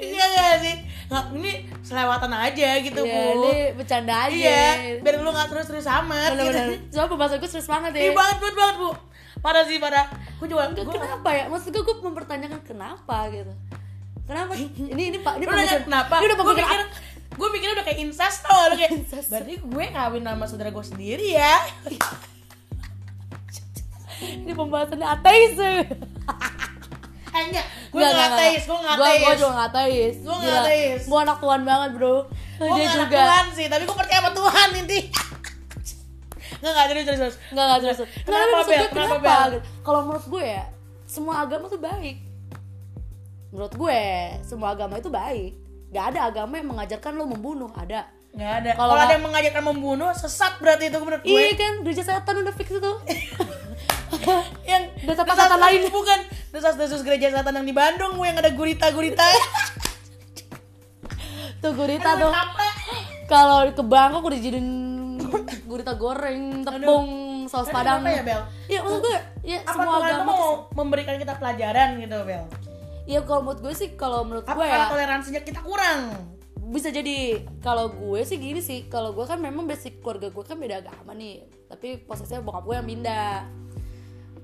Speaker 2: Iya gak sih? Nggak, ini selewatan aja gitu
Speaker 1: Iya,
Speaker 2: bu.
Speaker 1: ini bercanda aja.
Speaker 2: Iya, biar lu gak terus-terus amat gitu.
Speaker 1: Bener-bener. Cuma pembahasan gue serius banget ya.
Speaker 2: Iya banget, banget, banget bu. Parah sih, parah. Gue juga,
Speaker 1: Enggak,
Speaker 2: gue
Speaker 1: kenapa ya? Maksud gue, gue mempertanyakan kenapa gitu. Kenapa? Ini ini Pak, ini
Speaker 2: Lu nanya
Speaker 1: pembahasan-
Speaker 2: kenapa?
Speaker 1: Ini udah
Speaker 2: gue
Speaker 1: pembahasan
Speaker 2: mikir, gue mikirnya udah kayak incest tau gak? Lu kayak,
Speaker 1: Incest.
Speaker 2: berarti gue ngawin sama saudara gue sendiri ya.
Speaker 1: ini pembahasannya ateis.
Speaker 2: Hanya, gue gak ateis, gue gak ateis.
Speaker 1: Gue juga gak ateis.
Speaker 2: Gua nggak
Speaker 1: Gila,
Speaker 2: ateis.
Speaker 1: Gua anak Tuhan banget, Bro.
Speaker 2: Gue
Speaker 1: Dia
Speaker 2: nggak anak
Speaker 1: juga.
Speaker 2: Tuhan sih, tapi gue percaya sama Tuhan inti. Enggak, enggak, terus, terus, terus.
Speaker 1: Enggak, enggak terus.
Speaker 2: Kenapa,
Speaker 1: Nggak, maksud gue,
Speaker 2: Bel? Kenapa,
Speaker 1: kenapa?
Speaker 2: Bel?
Speaker 1: Kalau menurut gue ya, semua agama tuh baik. Menurut gue, semua agama itu baik. Gak ada agama yang mengajarkan lo membunuh, ada.
Speaker 2: Enggak ada.
Speaker 1: Kalau
Speaker 2: Kalau ada
Speaker 1: nggak-
Speaker 2: yang mengajarkan membunuh, sesat berarti itu menurut gue.
Speaker 1: Iya kan, gereja setan udah fix itu.
Speaker 2: yang
Speaker 1: Dasar kata-kata lain.
Speaker 2: bukan desas-desus gereja selatan yang di Bandung gue yang ada gurita-gurita.
Speaker 1: tuh gurita tuh.
Speaker 2: Apa?
Speaker 1: Kalau ke Bangkok udah jadiin gurita goreng, tepung, saus
Speaker 2: Aduh,
Speaker 1: padang.
Speaker 2: kenapa ya, Bel?
Speaker 1: Iya, maksud gue, ya
Speaker 2: Apa
Speaker 1: semua
Speaker 2: Tuhan tuh
Speaker 1: agama.
Speaker 2: mau memberikan kita pelajaran gitu, Bel?
Speaker 1: Iya, kalau menurut gue sih, kalau menurut
Speaker 2: Apa
Speaker 1: gue ya.
Speaker 2: karena toleransinya kita kurang?
Speaker 1: bisa jadi kalau gue sih gini sih kalau gue kan memang basic keluarga gue kan beda agama nih tapi posisinya bokap gue yang pindah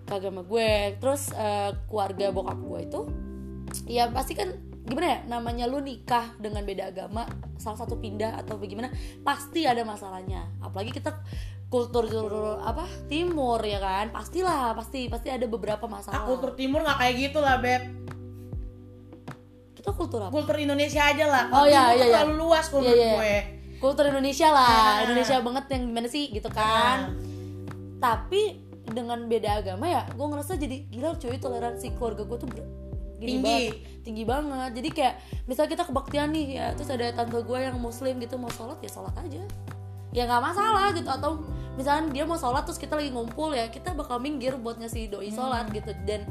Speaker 1: ke agama gue terus eh, keluarga bokap gue itu ya pasti kan gimana ya namanya lu nikah dengan beda agama salah satu pindah atau bagaimana pasti ada masalahnya apalagi kita kultur kultur apa timur ya kan pastilah pasti pasti ada beberapa
Speaker 2: Ah,
Speaker 1: masalah
Speaker 2: kultur timur nggak kayak gitu lah, Beb.
Speaker 1: kita kultur apa
Speaker 2: Kultur Indonesia aja lah.
Speaker 1: Oh, iya, iya,
Speaker 2: Kultur
Speaker 1: iya.
Speaker 2: Terlalu luas kalau
Speaker 1: Iya,
Speaker 2: menurut
Speaker 1: iya.
Speaker 2: gue.
Speaker 1: kultur Indonesia lah
Speaker 2: Ah.
Speaker 1: Indonesia banget yang gimana sih gitu kan tapi dengan beda agama ya gue ngerasa jadi gila cuy toleransi keluarga gue tuh ber- gini
Speaker 2: Tinggi.
Speaker 1: banget tinggi banget jadi kayak misal kita kebaktian nih ya terus ada tante gue yang muslim gitu mau sholat ya sholat aja ya nggak masalah gitu atau misalnya dia mau sholat terus kita lagi ngumpul ya kita bakal minggir buat ngasih doi sholat gitu dan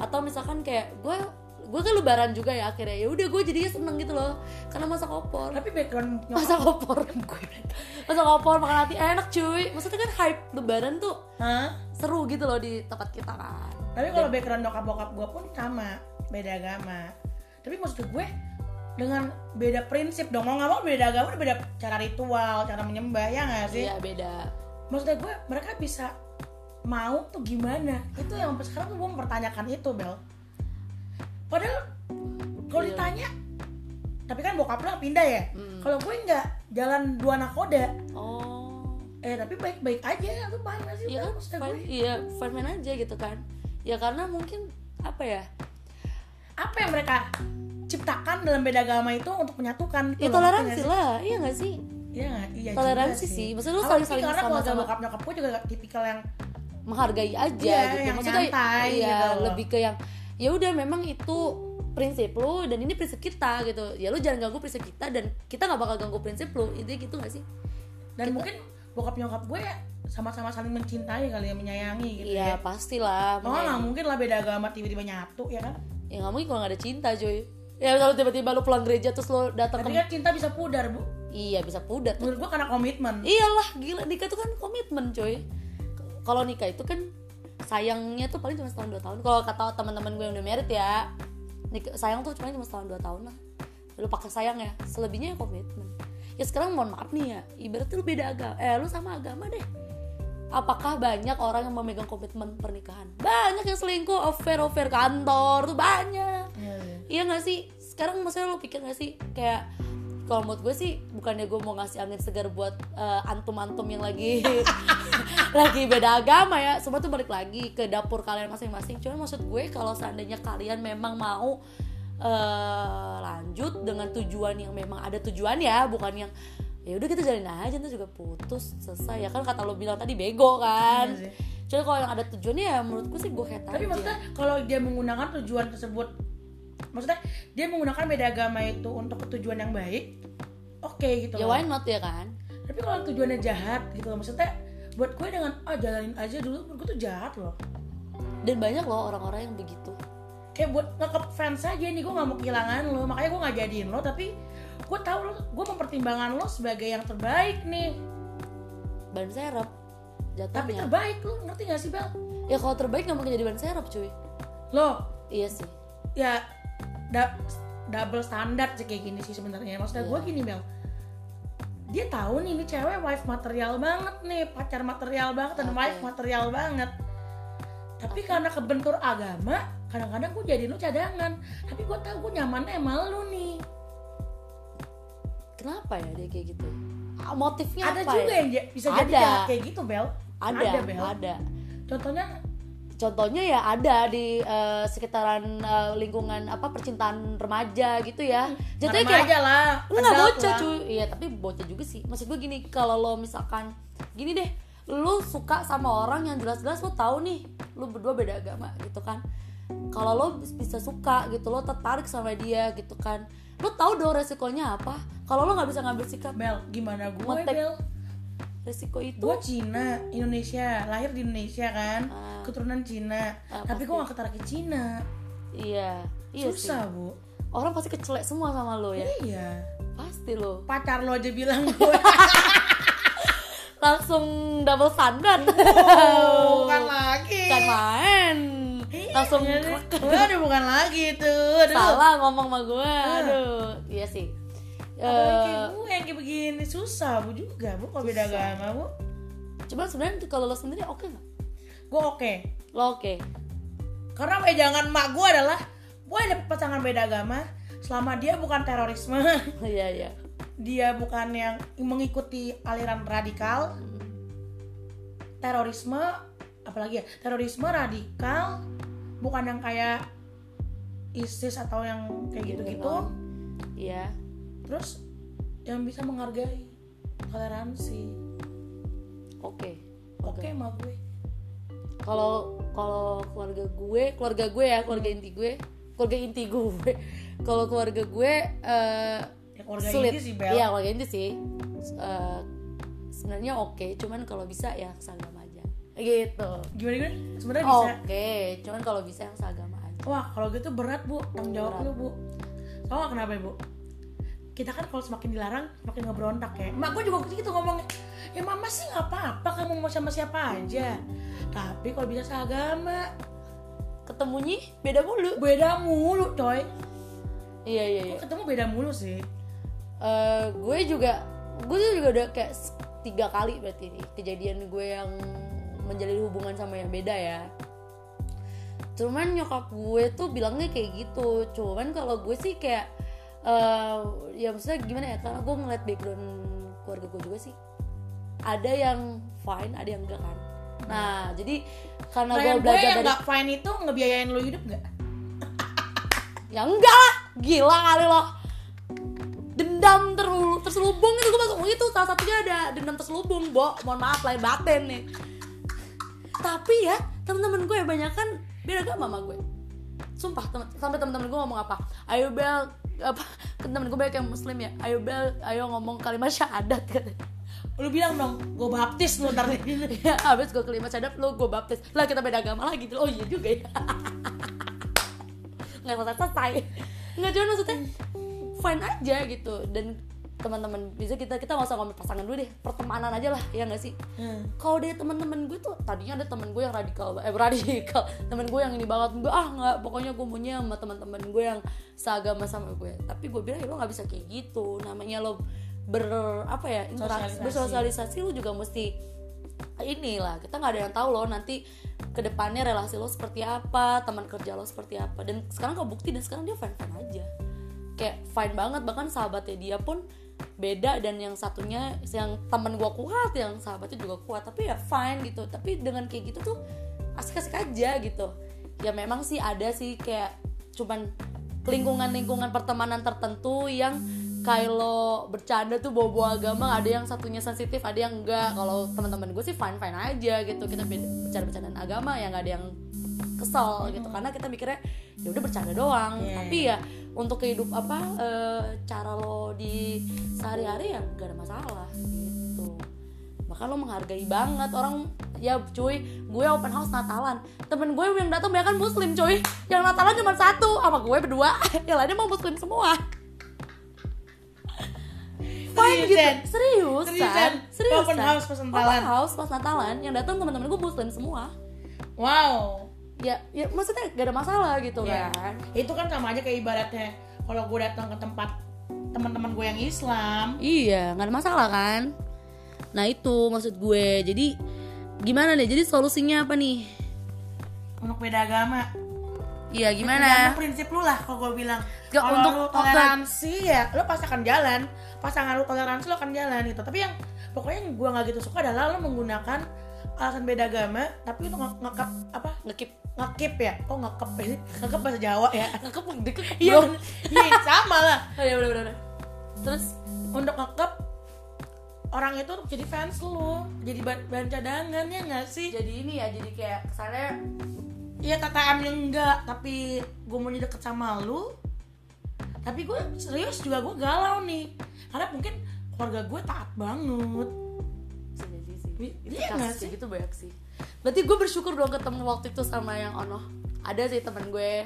Speaker 1: atau misalkan kayak gue gue kan lebaran juga ya akhirnya ya udah gue jadinya seneng gitu loh karena masak opor
Speaker 2: Tapi background nyokap
Speaker 1: masak opor masak opor makan hati enak cuy maksudnya kan hype lebaran tuh
Speaker 2: Hah?
Speaker 1: seru gitu loh di tempat kita kan
Speaker 2: Tapi kalau background nyokap bokap gue pun sama, beda agama. Tapi maksud gue dengan beda prinsip dong. Mau nggak mau beda agama, udah beda cara ritual, cara menyembah ya nggak sih?
Speaker 1: iya beda
Speaker 2: Maksudnya gue mereka bisa mau tuh gimana itu yang sampai sekarang tuh gue mempertanyakan itu Bel padahal kalau
Speaker 1: Iya.
Speaker 2: ditanya tapi kan bokap lo pindah ya
Speaker 1: Mm.
Speaker 2: kalau gue nggak jalan dua nakoda
Speaker 1: oh
Speaker 2: eh tapi baik-baik aja lu paham gak sih
Speaker 1: Iya
Speaker 2: Bel?
Speaker 1: kan
Speaker 2: Maksudnya
Speaker 1: fine,
Speaker 2: gue,
Speaker 1: iya fine fine aja gitu kan ya karena mungkin apa ya
Speaker 2: apa yang mereka ciptakan dalam beda agama itu untuk menyatukan
Speaker 1: ya toleransi lah iya gak sih
Speaker 2: Iya nggak? iya juga
Speaker 1: Toleransi sih. Maksudnya lu
Speaker 2: Apalagi
Speaker 1: saling-saling
Speaker 2: karena keluarga
Speaker 1: sama-sama.
Speaker 2: bokap nyokap gue juga tipikal yang
Speaker 1: menghargai aja
Speaker 2: Iya,
Speaker 1: gitu
Speaker 2: yang
Speaker 1: maksudnya
Speaker 2: nyantai
Speaker 1: iya,
Speaker 2: gitu loh.
Speaker 1: lebih ke yang ya udah memang itu prinsip lu dan ini prinsip kita gitu ya lu jangan ganggu prinsip kita dan kita nggak bakal ganggu prinsip lu itu gitu gak sih
Speaker 2: dan mungkin bokap nyokap gue ya sama-sama saling mencintai kali ya menyayangi gitu
Speaker 1: iya
Speaker 2: ya
Speaker 1: pastilah
Speaker 2: Oh, nggak
Speaker 1: menyayangi.
Speaker 2: mungkin lah beda agama tiba-tiba nyatu ya kan?
Speaker 1: ya nggak mungkin kalau nggak ada cinta cuy ya kalau tiba-tiba lu pulang gereja terus lu datang
Speaker 2: Tapi
Speaker 1: ke
Speaker 2: kan cinta bisa pudar bu.
Speaker 1: iya bisa pudar
Speaker 2: Menurut gue karena komitmen.
Speaker 1: iyalah gila nikah itu kan komitmen cuy kalau nikah itu kan sayangnya tuh paling cuma setahun dua tahun kalau kata teman-teman gue yang udah married ya nikah, sayang tuh cuma cuma setahun dua tahun lah lu pakai sayang ya selebihnya ya komitmen ya sekarang mohon maaf nih ya ibaratnya lu beda agama eh lu sama agama deh apakah banyak orang yang memegang komitmen pernikahan banyak yang selingkuh affair affair kantor tuh banyak Iya gak sih? Sekarang maksudnya lo pikir gak sih? Kayak kalau menurut gue sih bukannya gue mau ngasih angin segar buat eh, antum-antum yang lagi lagi beda agama ya semua tuh balik lagi ke dapur kalian masing-masing cuman maksud gue kalau seandainya kalian memang mau eh, lanjut dengan tujuan yang memang ada tujuan ya bukan yang ya udah kita jalin aja nanti juga putus selesai ya kan kata lo bilang tadi bego kan
Speaker 2: Iya sih.
Speaker 1: cuman kalau yang ada tujuannya ya menurut gue sih gue head
Speaker 2: Tapi
Speaker 1: aja.
Speaker 2: maksudnya kalau dia menggunakan tujuan tersebut, maksudnya dia menggunakan beda agama itu untuk tujuan yang baik, oke gitu.
Speaker 1: ya
Speaker 2: loh.
Speaker 1: why not ya kan
Speaker 2: Tapi kalau tujuannya jahat gitu loh, maksudnya buat gue dengan ah jalanin aja dulu, menurut gue tuh jahat loh.
Speaker 1: dan banyak loh orang-orang yang begitu
Speaker 2: kayak buat ngekep fans aja nih gue nggak mau kehilangan lo makanya gue nggak jadiin lo tapi gue tahu lo gue mempertimbangkan lo sebagai yang terbaik nih
Speaker 1: ban serep
Speaker 2: tapi kan-
Speaker 1: jatuhnya
Speaker 2: terbaik lo ngerti gak sih bel
Speaker 1: ya kalau terbaik nggak mungkin jadi ban serep cuy
Speaker 2: lo
Speaker 1: iya sih
Speaker 2: ya da- double standar sih kayak gini sih sebenarnya
Speaker 1: Iya.
Speaker 2: maksudnya gue gini bel dia tahu nih ini cewek wife material banget nih pacar material banget dan
Speaker 1: Oke.
Speaker 2: wife material banget tapi karena kebentur agama kadang-kadang gue jadiin lo cadangan tapi gue tahu gue nyamannya sama lo nih
Speaker 1: kenapa ya dia kayak gitu Ah, motifnya
Speaker 2: ada
Speaker 1: apa
Speaker 2: juga
Speaker 1: ya?
Speaker 2: yang ja- bisa jadi
Speaker 1: Ada.
Speaker 2: jahat kayak gitu Bel
Speaker 1: ada ada,
Speaker 2: Bel contohnya
Speaker 1: contohnya ya ada di eh, sekitaran eh, lingkungan apa percintaan remaja gitu ya jatuhnya
Speaker 2: karma
Speaker 1: kayak
Speaker 2: aja lah
Speaker 1: lu nggak
Speaker 2: adult
Speaker 1: bocah
Speaker 2: lah.
Speaker 1: cuy iya tapi bocah juga sih maksud gue gini kalau lo misalkan gini deh lu suka sama orang yang jelas-jelas lo tahu nih lu berdua beda agama gitu kan kalau lo bisa suka gitu lo tertarik sama dia gitu kan lo tahu dong resikonya apa kalau lo nggak bisa ngambil sikap
Speaker 2: Bel gimana gue
Speaker 1: Ngetek.
Speaker 2: Bel
Speaker 1: resiko itu
Speaker 2: gue Cina Indonesia lahir di Indonesia kan
Speaker 1: Ah.
Speaker 2: keturunan Cina
Speaker 1: Ah,
Speaker 2: tapi gue
Speaker 1: pasti.
Speaker 2: gak ketarik ke Cina
Speaker 1: iya iya sih
Speaker 2: susah bu
Speaker 1: orang pasti kecelek semua sama lo ya
Speaker 2: iya
Speaker 1: pasti lo
Speaker 2: pacar lo aja bilang gue
Speaker 1: langsung double standard
Speaker 2: oh, bukan lagi
Speaker 1: kan main
Speaker 2: Iya,
Speaker 1: langsung
Speaker 2: jadi, Waduh bukan lagi tuh Aduh
Speaker 1: salah ngomong sama gue
Speaker 2: Nah.
Speaker 1: aduh iya sih
Speaker 2: Apalagi kayak
Speaker 1: Eh
Speaker 2: gue yang kayak begini Susah bu juga bu Kalau beda agama bu
Speaker 1: cuman sebenarnya untuk kalau lo sendiri oke nggak
Speaker 2: Gue oke
Speaker 1: lo oke
Speaker 2: Karena wejangan mak gue adalah gue ada pasangan beda agama selama dia bukan terorisme,
Speaker 1: iya iya
Speaker 2: dia bukan yang mengikuti aliran radikal, terorisme apalagi ya terorisme radikal bukan yang kayak ISIS atau yang kayak gitu-gitu
Speaker 1: Gitu-gitu. iya
Speaker 2: terus yang bisa menghargai toleransi
Speaker 1: oke
Speaker 2: oke sama gue
Speaker 1: kalau kalau keluarga gue keluarga gue ya keluarga inti gue keluarga inti gue kalau keluarga gue eh
Speaker 2: ya keluarga
Speaker 1: sulit
Speaker 2: inti sih Bel
Speaker 1: iya keluarga inti sih S- eh, sebenarnya oke cuman kalau bisa ya seagama aja gitu
Speaker 2: gimana gimana sebenarnya bisa
Speaker 1: oke cuman kalau bisa yang seagama aja
Speaker 2: Wah, kalau gitu berat, Bu. Tanggung jawab
Speaker 1: Berat.
Speaker 2: lu, Bu. Tau gak kenapa, ya, Bu? Kita kan kalau semakin dilarang, semakin ngebrontak ya. Mak gue juga gitu ngomongnya. Ya mama sih gak apa-apa, kamu mau sama siapa aja. Tapi kalau bisa seagama,
Speaker 1: ketemunya beda mulu
Speaker 2: beda mulu, coy.
Speaker 1: iya iya
Speaker 2: Gue
Speaker 1: iya
Speaker 2: ketemu beda mulu sih.
Speaker 1: Eh, gue juga gue tuh juga udah kayak s- tiga kali berarti ini kejadian gue yang menjalin hubungan sama yang beda ya cuman nyokap gue tuh bilangnya kayak gitu cuman kalau gue sih kayak eh, ya maksudnya gimana ya karena gue ngeliat background keluarga gue juga sih ada yang fine ada yang enggak kan nah jadi karena gue
Speaker 2: Pertanyaan gue
Speaker 1: Nah, belajar
Speaker 2: Nah, yang
Speaker 1: dari
Speaker 2: gak ya, fine itu ngebiayain lo hidup gak?
Speaker 1: ya enggak lah gila kali lo dendam terlu terselubung itu gue masuk itu salah satunya ada dendam terselubung bo mohon maaf lain batin nih tapi ya teman-teman gue banyak kan beda agama sama gue sumpah temen- sampai teman-teman gue ngomong apa ayo bel apa temen gue banyak yang muslim ya ayo bel ayo ngomong kalimat syahadat katanya
Speaker 2: Lo bilang dong, gue baptis lo ntar Hmm. deh.
Speaker 1: ya abis gue kelima cadap lo gue baptis lah kita beda agama lagi oh iya juga ya nggak selesai selesai nggak cuman maksudnya fine aja gitu dan teman-teman bisa kita kita nggak usah ngomong pasangan dulu deh pertemanan aja lah ya nggak sih
Speaker 2: Hmm.
Speaker 1: kalau dari teman-teman gue tuh tadinya ada teman gue yang radikal eh radikal teman gue yang ini banget gue ah nggak pokoknya gue maunya sama teman-teman gue yang seagama sama gue tapi gue bilang ya lo nggak bisa kayak gitu namanya lo ber apa ya interaksi
Speaker 2: Sosialisasi.
Speaker 1: bersosialisasi lo juga mesti inilah kita nggak ada yang tahu lo nanti kedepannya relasi lo seperti apa teman kerja lo seperti apa dan sekarang kebukti dan sekarang dia fine fine aja kayak fine banget bahkan sahabatnya dia pun beda dan yang satunya yang temen gua kuat yang sahabatnya juga kuat tapi ya fine gitu tapi dengan kayak gitu tuh asik-asik aja gitu ya memang sih ada sih kayak cuman lingkungan-lingkungan pertemanan tertentu yang kalau bercanda tuh bawa-bawa agama ada yang satunya sensitif ada yang enggak kalau teman-teman gue sih fine fine aja gitu kita beda- bercanda-bercandaan agama yang nggak ada yang kesel gitu karena kita mikirnya ya udah bercanda doang
Speaker 2: Iya.
Speaker 1: tapi ya untuk kehidup apa eh, cara lo di sehari-hari ya gak ada masalah gitu bahkan lo menghargai banget orang ya cuy gue open house Natalan temen gue yang datang banyak kan muslim cuy yang Natalan cuma satu sama gue berdua yang lainnya mau muslim semua Fine gitu
Speaker 2: Seriusan?
Speaker 1: serius
Speaker 2: Seriusan?
Speaker 1: serius
Speaker 2: Open house pas Natalan?
Speaker 1: open house pas Natalan yang datang teman-teman gue muslim semua
Speaker 2: Wow.
Speaker 1: ya ya maksudnya gak ada masalah gitu
Speaker 2: Ya.
Speaker 1: kan
Speaker 2: Itu kan sama aja kayak ibaratnya kalau gue datang ke tempat teman-teman gue yang Islam,
Speaker 1: Iya, nggak ada masalah kan? Nah itu maksud gue. Jadi gimana nih? Jadi solusinya apa nih?
Speaker 2: untuk beda agama.
Speaker 1: Iya
Speaker 2: Tergantung
Speaker 1: gimana?
Speaker 2: prinsip lu lah kalau gue bilang.
Speaker 1: Gak,
Speaker 2: Kalau
Speaker 1: untuk-
Speaker 2: lu toleransi ya, lu pasti akan jalan. Pasangan lu toleransi lu akan jalan gitu. Tapi yang pokoknya yang gue nggak gitu suka adalah lu menggunakan alasan beda agama tapi untuk nge- ngekep apa
Speaker 1: Ngekip,
Speaker 2: ngekip ya kok ngekep sih? ngekip bahasa Jawa ya
Speaker 1: ngekip, ngekip.
Speaker 2: iya iya sama lah
Speaker 1: Iya bener bener. Terus
Speaker 2: untuk ngekep orang itu jadi fans lu jadi bahan, bahan cadangan ya nggak sih
Speaker 1: jadi ini ya, jadi kayak kesannya
Speaker 2: iya KKM yang enggak tapi gue maunya deket sama lu tapi gue serius juga gue galau nih karena mungkin keluarga gue taat banget
Speaker 1: bisa jadi sih.
Speaker 2: Wi-
Speaker 1: Itu
Speaker 2: iya nggak
Speaker 1: kasus
Speaker 2: sih?
Speaker 1: gitu banyak sih. Berarti gue bersyukur dong ketemu waktu itu sama yang Ono. Ada sih teman gue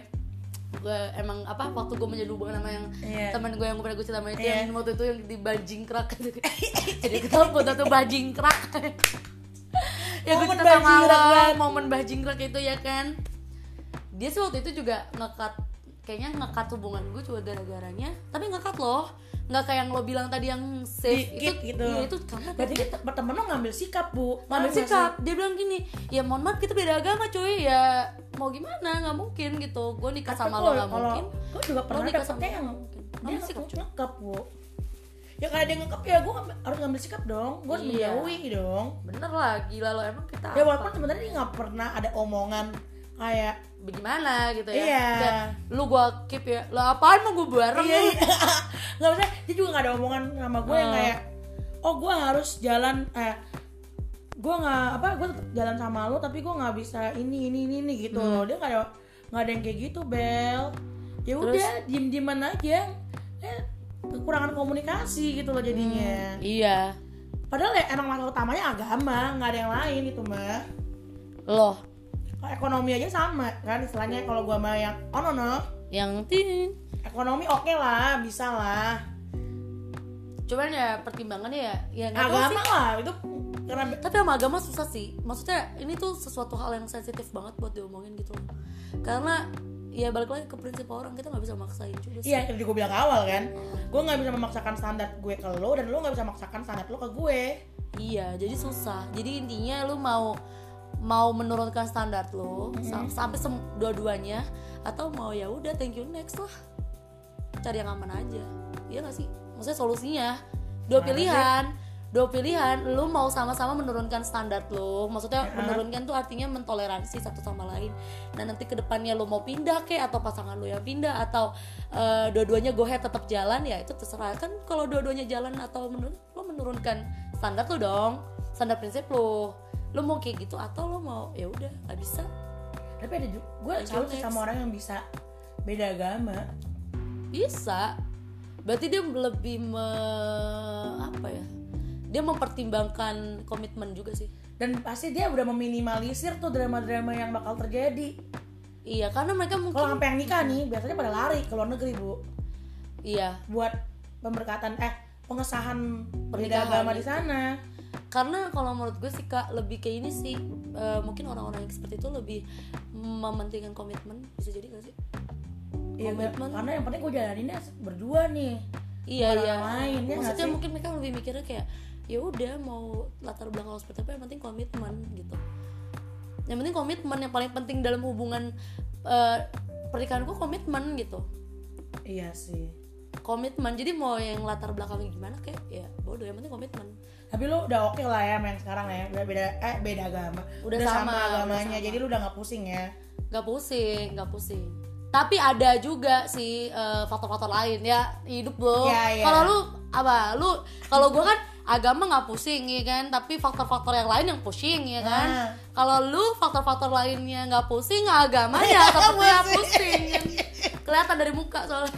Speaker 1: gue emang apa waktu gue menjadi hubungan sama yang
Speaker 2: Iya.
Speaker 1: teman gue yang gue pernah gue cerita sama itu
Speaker 2: Iya.
Speaker 1: yang waktu itu yang di bajing kerak jadi ketemu tuh bajing kerak ya gue
Speaker 2: Momen
Speaker 1: cerita sama
Speaker 2: bajing kerak
Speaker 1: lo,
Speaker 2: banget.
Speaker 1: momen bajing kerak itu ya kan dia sih waktu itu juga ngekat kayaknya ngekat hubungan gue juga gara-garanya tapi ngekat loh nggak kayak yang lo bilang tadi yang safe
Speaker 2: Dikit
Speaker 1: itu
Speaker 2: gitu.
Speaker 1: iya, itu kamu
Speaker 2: berarti dia te- temen lu ngambil sikap bu
Speaker 1: ngambil
Speaker 2: Paham nggak
Speaker 1: sikap dia bilang gini ya mohon maaf kita beda agama cuy ya mau gimana nggak mungkin gitu gue nikah
Speaker 2: sih?
Speaker 1: sama
Speaker 2: Tapi
Speaker 1: lo
Speaker 2: kalau-
Speaker 1: nggak
Speaker 2: kalau-
Speaker 1: mungkin
Speaker 2: gue juga pernah
Speaker 1: nikah sama
Speaker 2: dapetnya
Speaker 1: orang
Speaker 2: yang
Speaker 1: mungkin.
Speaker 2: dia
Speaker 1: Ngambil sikap,
Speaker 2: ngekep ngekep bu ya kalau dia ngekep ya gue harus ngambil sikap dong gue harus
Speaker 1: Iya.
Speaker 2: menjauhi dong
Speaker 1: bener lah gila lo emang kita apa?
Speaker 2: ya walaupun sebenarnya dia nggak pernah ada omongan kayak
Speaker 1: bagaimana gitu ya
Speaker 2: Iya.
Speaker 1: Kayak, lu gue keep ya lo apaan mau gue bareng
Speaker 2: iya
Speaker 1: lu?
Speaker 2: iya nggak maksudnya dia juga nggak ada omongan sama gue yang
Speaker 1: Hmm.
Speaker 2: kayak oh gue harus jalan eh gue nggak apa gue tetap jalan sama lo tapi gue nggak bisa ini ini ini, ini gitu
Speaker 1: Hmm.
Speaker 2: dia nggak ada nggak ada yang kayak gitu bel ya
Speaker 1: Terus?
Speaker 2: udah diem dieman aja eh, kekurangan komunikasi gitu loh jadinya
Speaker 1: iya
Speaker 2: padahal ya emang masalah utamanya agama nggak ada yang lain itu mah
Speaker 1: loh
Speaker 2: Kalau ekonomi aja sama kan
Speaker 1: Hmm.
Speaker 2: istilahnya kalau gue sama yang oh no no
Speaker 1: yang ting
Speaker 2: ekonomi oke lah bisa lah
Speaker 1: cuman ya pertimbangannya ya ya nggak tahu sih
Speaker 2: agama lah itu karena
Speaker 1: tapi sama agama susah sih maksudnya ini tuh sesuatu hal yang sensitif banget buat diomongin gitu loh karena ya balik lagi ke prinsip orang kita nggak bisa maksain juga sih
Speaker 2: Iya, yang tadi gue bilang awal kan. Gue nggak bisa memaksakan standar gue ke lo dan lo nggak bisa memaksakan standar lo ke gue.
Speaker 1: Iya, jadi susah jadi intinya lu mau mau menurunkan standar lo sam- sampai sem- dua-duanya atau mau ya udah thank you next lah cari yang aman aja iya gak sih maksudnya solusinya dua pilihan dua pilihan lu mau sama-sama menurunkan standar lu maksudnya menurunkan tuh artinya mentoleransi satu sama lain nah nanti kedepannya lu mau pindah kek atau pasangan lu yang pindah atau eh, dua-duanya go ahead tetap jalan ya itu terserah kan kalau dua-duanya jalan atau menurun lu menurunkan standar lu dong standar prinsip lu lu mau kayak gitu atau lu mau ya udah nggak bisa
Speaker 2: tapi ada juga gue
Speaker 1: Ada
Speaker 2: salut
Speaker 1: challenge.
Speaker 2: sama orang yang bisa beda agama
Speaker 1: bisa berarti dia lebih me- apa ya dia mempertimbangkan komitmen juga sih
Speaker 2: dan pasti dia udah meminimalisir tuh drama-drama yang bakal terjadi
Speaker 1: iya karena mereka mungkin
Speaker 2: kalau sampai yang nikah nih biasanya pada lari ke luar negeri bu
Speaker 1: iya
Speaker 2: buat pemberkatan eh pengesahan beda
Speaker 1: Pernikahan
Speaker 2: agama di
Speaker 1: gitu.
Speaker 2: sana
Speaker 1: karena kalau menurut gue sih kak lebih kayak ini sih eh, mungkin orang-orang yang seperti itu lebih mementingkan komitmen bisa jadi gak sih
Speaker 2: Iya, gak-
Speaker 1: Komitmen.
Speaker 2: karena yang penting gue jalaninnya berdua nih
Speaker 1: iya
Speaker 2: Orang
Speaker 1: iya
Speaker 2: lain, ya
Speaker 1: maksudnya
Speaker 2: nggak sih?
Speaker 1: mungkin mereka lebih mikirnya kayak ya udah mau latar belakang lo seperti apa yang penting komitmen gitu yang penting komitmen yang paling penting dalam hubungan eh, pernikahan gue komitmen gitu
Speaker 2: iya sih
Speaker 1: komitmen jadi mau yang latar belakangnya gimana kayak ya bodoh yang penting komitmen
Speaker 2: tapi lu udah oke lah ya main sekarang ya udah beda eh beda agama
Speaker 1: Udah sama, udah
Speaker 2: agamanya
Speaker 1: sama.
Speaker 2: jadi lu udah nggak pusing ya
Speaker 1: nggak pusing nggak pusing tapi ada juga sih eh, faktor-faktor lain ya hidup lo
Speaker 2: Iya, iya.
Speaker 1: kalau lu apa lu kalau gua kan agama nggak pusing ya kan tapi faktor-faktor yang lain yang pusing ya kan
Speaker 2: Nah.
Speaker 1: kalau lu faktor-faktor lainnya nggak pusing agamanya yang pusing kan? kelihatan dari muka soalnya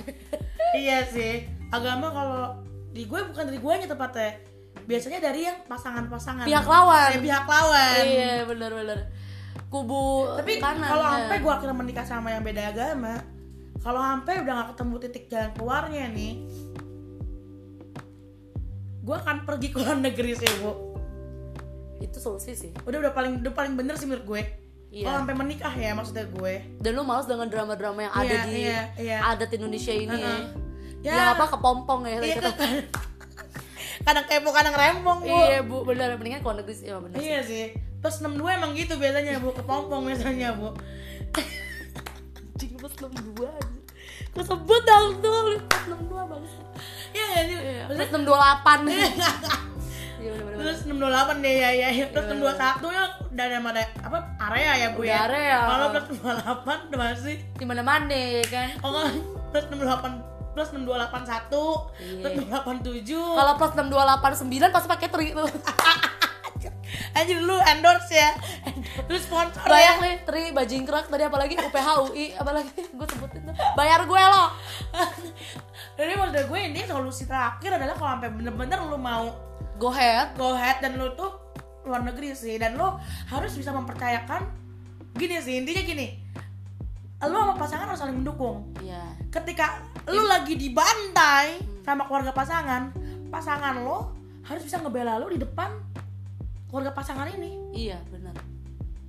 Speaker 2: iya sih agama kalau di gue bukan dari guanya tepatnya biasanya dari yang pasangan-pasangan
Speaker 1: Pihak lawan.
Speaker 2: Eh, pihak lawan
Speaker 1: iya bener-bener kubu
Speaker 2: tapi
Speaker 1: kanan
Speaker 2: kalau
Speaker 1: ya.
Speaker 2: sampai gue akhirnya menikah sama yang beda agama kalau sampai udah gak ketemu titik jalan keluarnya nih gue akan pergi ke luar negeri sih bu
Speaker 1: itu solusi sih
Speaker 2: udah udah paling udah paling bener sih menurut gue
Speaker 1: Iya.
Speaker 2: kalau sampai menikah ya maksudnya gue
Speaker 1: dan lu males dengan drama-drama yang ada
Speaker 2: Iya,
Speaker 1: di
Speaker 2: iya, iya.
Speaker 1: adat Indonesia ini ya.
Speaker 2: Heeh.
Speaker 1: ya. apa kepompong ya
Speaker 2: iya,
Speaker 1: kata.
Speaker 2: kan- kadang kepo kadang rempong bu
Speaker 1: iya bu benar mendingan kalau negeri sih, ya benar
Speaker 2: Iya sih plus 62 emang gitu biasanya bu kepompong biasanya bu
Speaker 1: anjing pas enam dua gue sebut dong tuh pas enam dua bang
Speaker 2: iya gak sih
Speaker 1: pas enam dua delapan iya benar-benar
Speaker 2: Terus 628 deh ya ya. ya. Terus 621 ya udah ada ada apa area ya Bu
Speaker 1: Udah
Speaker 2: ya.
Speaker 1: area.
Speaker 2: Kalau plus 628 udah masih
Speaker 1: di mana mana kan
Speaker 2: oh enggak plus 628 plus
Speaker 1: Iya.
Speaker 2: 6281 plus 687.
Speaker 1: kalau plus enam dua delapan sembilan pasti pakai tri lu
Speaker 2: Anjir lu endorse ya. Terus sponsor
Speaker 1: bayang nih
Speaker 2: ya.
Speaker 1: tri bajing kerak tadi apalagi UPH UI apalagi gue sebutin tuh bayar gue lo
Speaker 2: Jadi maksud gue ini solusi terakhir adalah kalau sampai bener-bener lu mau
Speaker 1: go ahead
Speaker 2: go ahead dan lu tuh luar negeri sih dan lu harus bisa mempercayakan gini sih intinya gini lu sama pasangan harus saling mendukung
Speaker 1: iya
Speaker 2: ketika lu lagi dibantai sama keluarga pasangan, pasangan lo harus bisa ngebela lu di depan keluarga pasangan ini.
Speaker 1: iya benar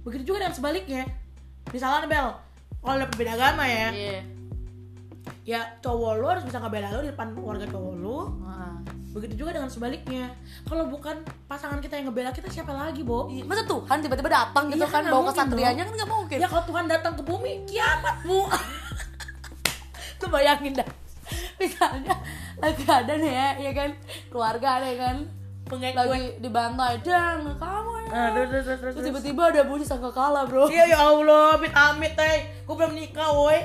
Speaker 2: Begitu juga dengan sebaliknya. Misalnya Bel, kalau udah berbeda agama ya,
Speaker 1: iya
Speaker 2: ya cowok lo harus bisa ngebela lu di depan keluarga cowok lo.
Speaker 1: Heeh.
Speaker 2: Begitu juga dengan sebaliknya. Kalau bukan pasangan kita yang ngebela kita siapa lagi, Bo?
Speaker 1: Iya, Masa Tuhan tiba-tiba datang gitu
Speaker 2: Iya,
Speaker 1: kan
Speaker 2: nggak
Speaker 1: bawa
Speaker 2: mungkin
Speaker 1: kesatrianya
Speaker 2: dong.
Speaker 1: kan nggak mungkin.
Speaker 2: Ya kalau Tuhan datang ke bumi, kiamat, Bu.
Speaker 1: Lu bayangin dah. Misalnya lagi ada nih ya, ya kan keluarga ada ya kan
Speaker 2: Pengek gue.
Speaker 1: lagi dibantai dan kamu ya.
Speaker 2: Nah, terus, terus, terus, terus.
Speaker 1: Terus tiba-tiba ada bunyi sangkakala bro.
Speaker 2: Iya ya Allah, amit amit eh. Gue belum nikah, woi.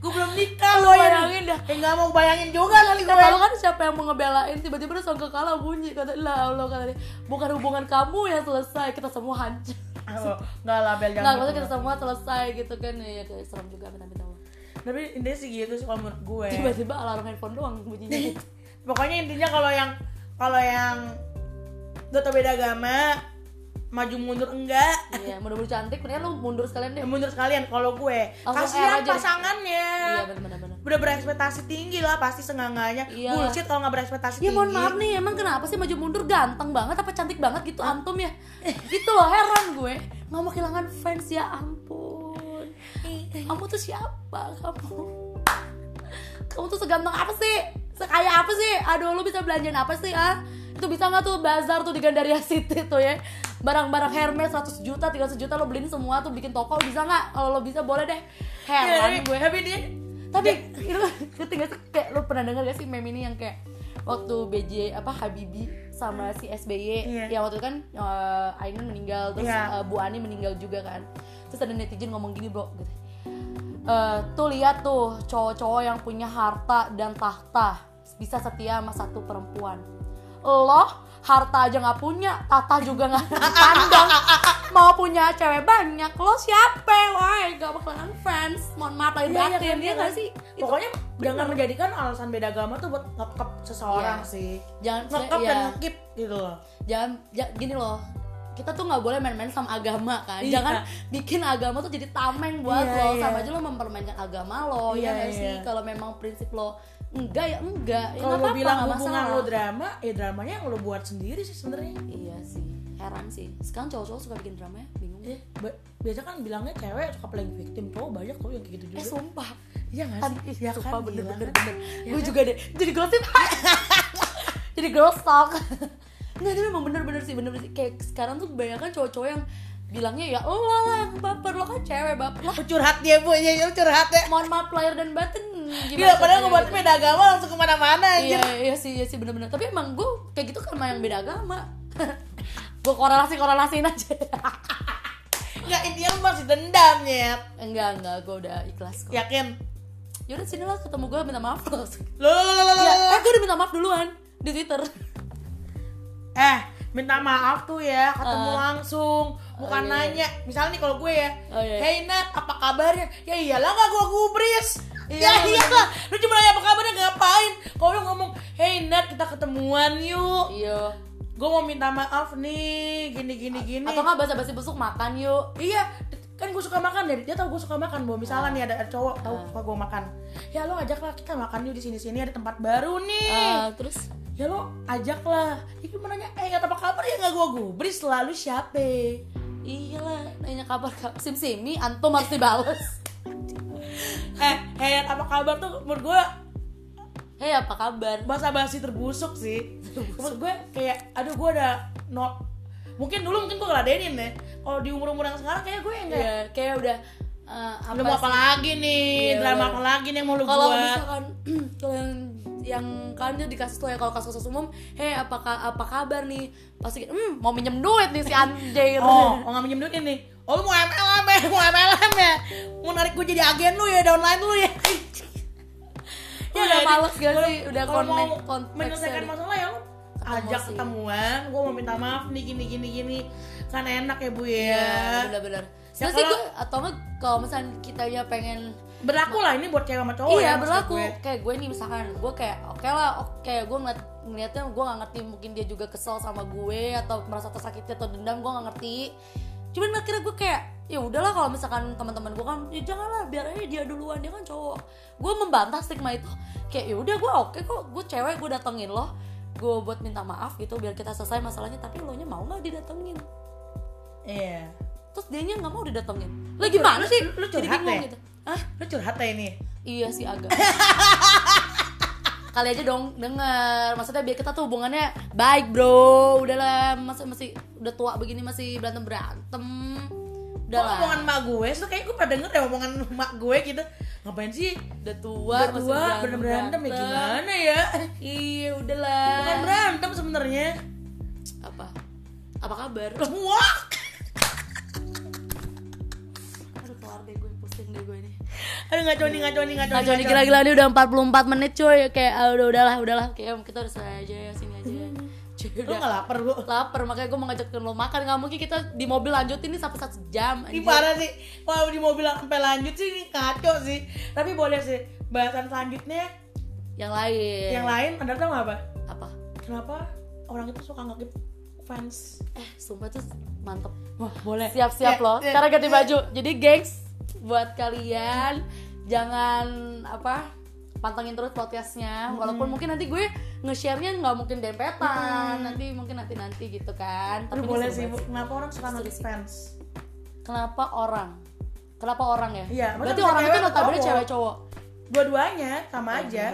Speaker 2: Gue belum nikah,
Speaker 1: Lu
Speaker 2: woi.
Speaker 1: bayangin dah.
Speaker 2: Ya nggak mau bayangin juga kali ya. gue.
Speaker 1: Kata lu kan siapa yang mau ngebelain tiba-tiba ada sangkakala bunyi kata lah Allah kata dia bukan hubungan kamu yang selesai kita semua hancur.
Speaker 2: Oh, Nggak lah, Bel
Speaker 1: Nggak
Speaker 2: jangan.
Speaker 1: maksudnya
Speaker 2: gitu.
Speaker 1: kita semua selesai gitu kan ya, ya kayak serem juga amit-amit Allah.
Speaker 2: Tapi intinya sih gitu sih kalau menurut gue.
Speaker 1: Tiba-tiba alarm handphone doang
Speaker 2: Iya.
Speaker 1: bunyinya.
Speaker 2: Pokoknya intinya kalau yang kalau yang gak tau beda agama, maju mundur enggak.
Speaker 1: Iya, mudah-mudahan cantik, mendingan lu mundur sekalian deh.
Speaker 2: Ya, mundur sekalian kalau gue.
Speaker 1: Langsung R
Speaker 2: Kasihan
Speaker 1: aja deh.
Speaker 2: pasangannya.
Speaker 1: Iya, benar-benar.
Speaker 2: Udah berekspektasi tinggi lah pasti senggangannya.
Speaker 1: Iya.
Speaker 2: Bullshit kalau nggak berekspektasi
Speaker 1: Ya
Speaker 2: tinggi.
Speaker 1: mohon maaf nih, emang kenapa sih maju mundur ganteng banget apa cantik banget gitu antum ya? Itu loh heran gue. Nggak mau kehilangan fans ya ampun. Kamu tuh siapa kamu? Kamu tuh seganteng apa sih? Sekaya apa sih? Aduh lu bisa belanjain apa sih ah? Itu bisa nggak tuh bazar tuh di Gandaria City tuh ya? barang-barang Hermes 100 juta 300 juta lo beliin semua tuh bikin toko bisa nggak kalau lo bisa boleh deh
Speaker 2: Iya, tapi,
Speaker 1: heran gue
Speaker 2: tapi dia
Speaker 1: tapi itu ngerti gak sih kayak lo pernah dengar gak sih meme ini yang kayak waktu BJ apa Habibie sama si SBY
Speaker 2: Iya.
Speaker 1: yang waktu itu kan eh, Ainun meninggal terus
Speaker 2: Iya.
Speaker 1: eh, Bu Ani meninggal juga kan terus ada netizen ngomong gini bro gitu Eh, tuh lihat tuh cowok-cowok yang punya harta dan tahta bisa setia sama satu perempuan lo harta aja nggak punya tahta juga nggak dipandang mau punya cewek banyak lo siapa woi gak bakalan fans mohon maaf lahir
Speaker 2: Iya, iya,
Speaker 1: batin
Speaker 2: kan,
Speaker 1: dia
Speaker 2: iya,
Speaker 1: nggak
Speaker 2: kan.
Speaker 1: sih Itu-
Speaker 2: pokoknya jangan menjadikan alasan beda agama tuh buat ngekep seseorang
Speaker 1: Iya.
Speaker 2: sih
Speaker 1: jangan
Speaker 2: ngekep
Speaker 1: iya.
Speaker 2: dan ngekip gitu loh
Speaker 1: jangan ja- gini loh kita tuh nggak boleh main-main sama agama kan
Speaker 2: Iya.
Speaker 1: jangan bikin agama tuh jadi tameng buat lo
Speaker 2: Iya, iya.
Speaker 1: sama aja lo mempermainkan agama lo
Speaker 2: Iya,
Speaker 1: ya nggak
Speaker 2: iya.
Speaker 1: sih kalau memang prinsip lo enggak ya enggak ya, nggak
Speaker 2: kalau lo
Speaker 1: apa-apa,
Speaker 2: bilang
Speaker 1: nggak
Speaker 2: hubungan
Speaker 1: masalah.
Speaker 2: lo drama ya dramanya yang lo buat sendiri sih sebenarnya
Speaker 1: iya sih heran sih sekarang cowok-cowok suka bikin drama ya bingung
Speaker 2: Iya, ba- biasa kan bilangnya cewek suka playing victim cowok banyak tuh yang kayak gitu
Speaker 1: eh
Speaker 2: juga
Speaker 1: sumpah
Speaker 2: iya nggak
Speaker 1: Tadi
Speaker 2: sih
Speaker 1: ih, sumpah
Speaker 2: gila
Speaker 1: bener bener
Speaker 2: kan?
Speaker 1: bener Gue juga deh Jadi gosip Jadi girl stalk Nggak tapi memang bener-bener sih bener-bener sih Kayak sekarang tuh kebanyakan cowok-cowok yang Bilangnya ya lo lah yang baper Lo kan cewek baper lah
Speaker 2: Oh, curhat dia bu ya ya, curhat ya
Speaker 1: Mohon maaf lahir dan batin
Speaker 2: Gila, padahal
Speaker 1: caranya
Speaker 2: ngebuat
Speaker 1: gitu.
Speaker 2: beda agama langsung kemana-mana
Speaker 1: Iya
Speaker 2: anjir
Speaker 1: iya sih iya sih bener-bener Tapi emang gue kayak gitu kan sama yang beda agama Gue korelasi-korelasiin aja
Speaker 2: Nggak, intinya lu masih dendam, Nyet
Speaker 1: Enggak enggak gue udah ikhlas kok
Speaker 2: Yakin?
Speaker 1: Yaudah sini lah ketemu gue minta maaf lo langsung
Speaker 2: Lo, lo, lo, lo, lo,
Speaker 1: Ya,
Speaker 2: lo.
Speaker 1: eh gue udah minta maaf duluan di Twitter
Speaker 2: Eh, minta maaf tuh ya, ketemu
Speaker 1: Eh.
Speaker 2: langsung Bukan
Speaker 1: Oh, iya.
Speaker 2: nanya, misalnya nih kalau gue ya
Speaker 1: Oh, iya.
Speaker 2: Hey Nat, apa kabarnya? Ya iyalah gak gue gubris
Speaker 1: Iya,
Speaker 2: Ya iyalah, lu cuma nanya apa kabarnya ngapain Kalau lu ngomong, hey Nat kita ketemuan yuk
Speaker 1: Iya.
Speaker 2: Gue mau minta maaf nih, gini gini gini
Speaker 1: Atau nggak basa-basi busuk makan yuk.
Speaker 2: Iya, kan gue suka makan dari dia tau gue suka makan bahwa misalnya
Speaker 1: Ah.
Speaker 2: nih ada ada cowok tau suka gue makan ya lo ajaklah kita makan yuk di sini sini ada tempat baru nih
Speaker 1: Eh, terus
Speaker 2: ya lo ajaklah ya gimana nanya eh nggak apa kabar ya nggak gue gubris selalu siapa
Speaker 1: iyalah nanya kabar kabar sim simi antum harus dibales.
Speaker 2: eh hey apa kabar tuh menurut gue
Speaker 1: Hei apa kabar?
Speaker 2: bahasa basi terbusuk sih menurut gue kayak aduh gue ada not mungkin dulu mungkin gue ngeladenin ya kalau di umur umur yang sekarang kayak gue enggak
Speaker 1: Ya, kayak udah eh, apa
Speaker 2: Lu mau apa
Speaker 1: sih?
Speaker 2: lagi nih?
Speaker 1: Iya,
Speaker 2: drama
Speaker 1: udah.
Speaker 2: apa lagi nih yang mau lu
Speaker 1: Kalau
Speaker 2: buat?
Speaker 1: misalkan kalau yang yang kan dia dikasih tuh ya kalau kasus-kasus umum, hei apa ka- apa kabar nih? Pasti hmm, mau minjem duit nih si anjir.
Speaker 2: Oh, oh nggak minjem duit nih. Oh lu mau MLM ya, mau MLM ya. Mau narik gue jadi agen lu ya, downline lu ya.
Speaker 1: Ya, udah
Speaker 2: Oh, jadi,
Speaker 1: males gak
Speaker 2: kalau-
Speaker 1: sih? Udah
Speaker 2: kalau mau
Speaker 1: connect- konteksnya
Speaker 2: menyelesaikan
Speaker 1: nih.
Speaker 2: masalah ya lu
Speaker 1: Ketemu
Speaker 2: ajak
Speaker 1: sih.
Speaker 2: ketemuan, gue mau minta maaf nih gini gini gini. Kan enak ya Bu ya.
Speaker 1: Iya, bener-bener.
Speaker 2: Ya,
Speaker 1: Sebenernya sih
Speaker 2: kalau-
Speaker 1: gue atau nggak kalau misalnya kita ya pengen
Speaker 2: Berlaku lah ini buat cewek sama cowok
Speaker 1: iya
Speaker 2: ya, maksud
Speaker 1: berlaku
Speaker 2: gue.
Speaker 1: kayak gue nih misalkan gue kayak oke lah oke gue ngeliat ngeliatnya gue gak ngerti mungkin dia juga kesel sama gue atau merasa tersakiti atau dendam gue gak ngerti cuman akhirnya gue kayak ya udahlah kalau misalkan teman-teman gue kan ya janganlah biar aja dia duluan dia kan cowok gue membantah stigma itu kayak ya udah gue oke kok gue cewek gue datengin loh gue buat minta maaf gitu biar kita selesai masalahnya tapi lo nya mau nggak didatengin
Speaker 2: Iya.
Speaker 1: terus dia nya nggak mau didatengin lah gimana sih
Speaker 2: lu
Speaker 1: Jadi
Speaker 2: curhat
Speaker 1: bingung
Speaker 2: ya?
Speaker 1: gitu Hah?
Speaker 2: Lu curhat ya ini.
Speaker 1: Iya sih agak. Kali aja dong denger. Maksudnya biar kita tuh hubungannya baik, Bro. Udahlah, masih masih udah tua begini masih berantem-berantem.
Speaker 2: Kok
Speaker 1: Udahlah.
Speaker 2: omongan emak gue, itu kayak gue pernah denger ya omongan emak gue gitu. Ngapain sih?
Speaker 1: Udah tua,
Speaker 2: Udah
Speaker 1: masih
Speaker 2: tua, berantem ya gimana ya?
Speaker 1: Iya, udahlah.
Speaker 2: Bukan berantem sebenarnya.
Speaker 1: Apa? Apa kabar?
Speaker 2: Wah.
Speaker 1: Aduh, keluar deh gue pusing deh gue ini.
Speaker 2: Aduh ngaco nih ngaco nih ngaco.
Speaker 1: Nah, Joni gila-gila ini udah 44 menit cuy. Kayak ah, udah udahlah, udahlah. Kayak kita udah selesai aja ya sini aja. Cuy,
Speaker 2: Lu
Speaker 1: udah.
Speaker 2: nggak lapar bu?
Speaker 1: lapar makanya gue mau ngajakin lo makan nggak mungkin kita di mobil lanjutin nih sampai satu jam
Speaker 2: Ini
Speaker 1: anjir.
Speaker 2: parah sih. Wah di mobil sampai lanjut sih ini kacau sih. Tapi boleh sih bahasan selanjutnya
Speaker 1: yang lain
Speaker 2: yang lain ada tahu nggak, apa?
Speaker 1: apa
Speaker 2: Kenapa orang itu suka ngekip fans?
Speaker 1: eh sumpah tuh mantep
Speaker 2: Wah boleh.
Speaker 1: siap-siap
Speaker 2: Ya,
Speaker 1: loh
Speaker 2: ya,
Speaker 1: sekarang ganti
Speaker 2: ya.
Speaker 1: baju jadi gengs buat kalian jangan apa pantengin terus podcastnya walaupun mungkin nanti gue nge-share-nya nggak mungkin dempetan nanti mungkin nanti nanti gitu kan
Speaker 2: Aduh
Speaker 1: ini
Speaker 2: boleh
Speaker 1: seru
Speaker 2: sih bu.
Speaker 1: banget
Speaker 2: Kenapa orang suka
Speaker 1: Seru
Speaker 2: ngekip
Speaker 1: sih.
Speaker 2: fans?
Speaker 1: kenapa orang kenapa orang ya
Speaker 2: Iya, maksudnya
Speaker 1: berarti
Speaker 2: bisa
Speaker 1: orang itu
Speaker 2: cewek atau
Speaker 1: notabene
Speaker 2: cowok?
Speaker 1: cewek cowok
Speaker 2: Dua-duanya sama aja.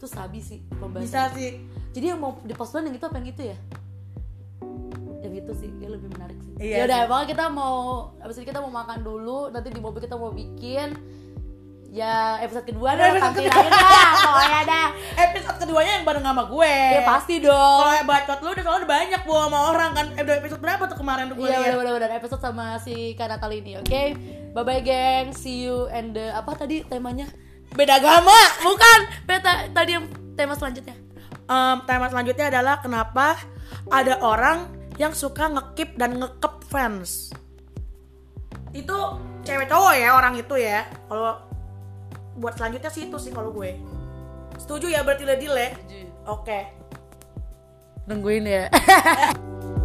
Speaker 1: itu sabi sih pembahasan
Speaker 2: Bisa sih.
Speaker 1: Jadi yang mau dipost duluan yang itu apa yang itu ya? Yang itu itu sih kayak lebih menarik sih
Speaker 3: Iya
Speaker 1: ya udah pokoknya kita mau abis ini kita mau makan dulu nanti di mobil kita mau bikin ya episode kedua
Speaker 3: Udah,
Speaker 1: dong
Speaker 3: episode
Speaker 1: nanti
Speaker 3: kedua.
Speaker 1: lain dah pokoknya dah
Speaker 2: Episode keduanya yang bareng sama gue.
Speaker 1: ya pasti dong
Speaker 2: Kalau bacot lu udah soalnya udah banyak gua sama orang kan. Eh, udah episode berapa tuh kemarin tuh gue
Speaker 1: Iya
Speaker 2: liat?
Speaker 1: bener bener episode sama si Kak Natali ini oke bye bye geng see you and the apa tadi temanya
Speaker 2: Beda agama.
Speaker 1: bukan beta tadi yang tema selanjutnya
Speaker 2: Em, tema selanjutnya adalah kenapa ada orang yang suka ngekip dan ngekep fans. Itu cewek cowok ya orang itu ya. Kalau buat selanjutnya sih itu sih kalau gue. ya? Setuju ya berarti dile Oke.
Speaker 1: nungguin ya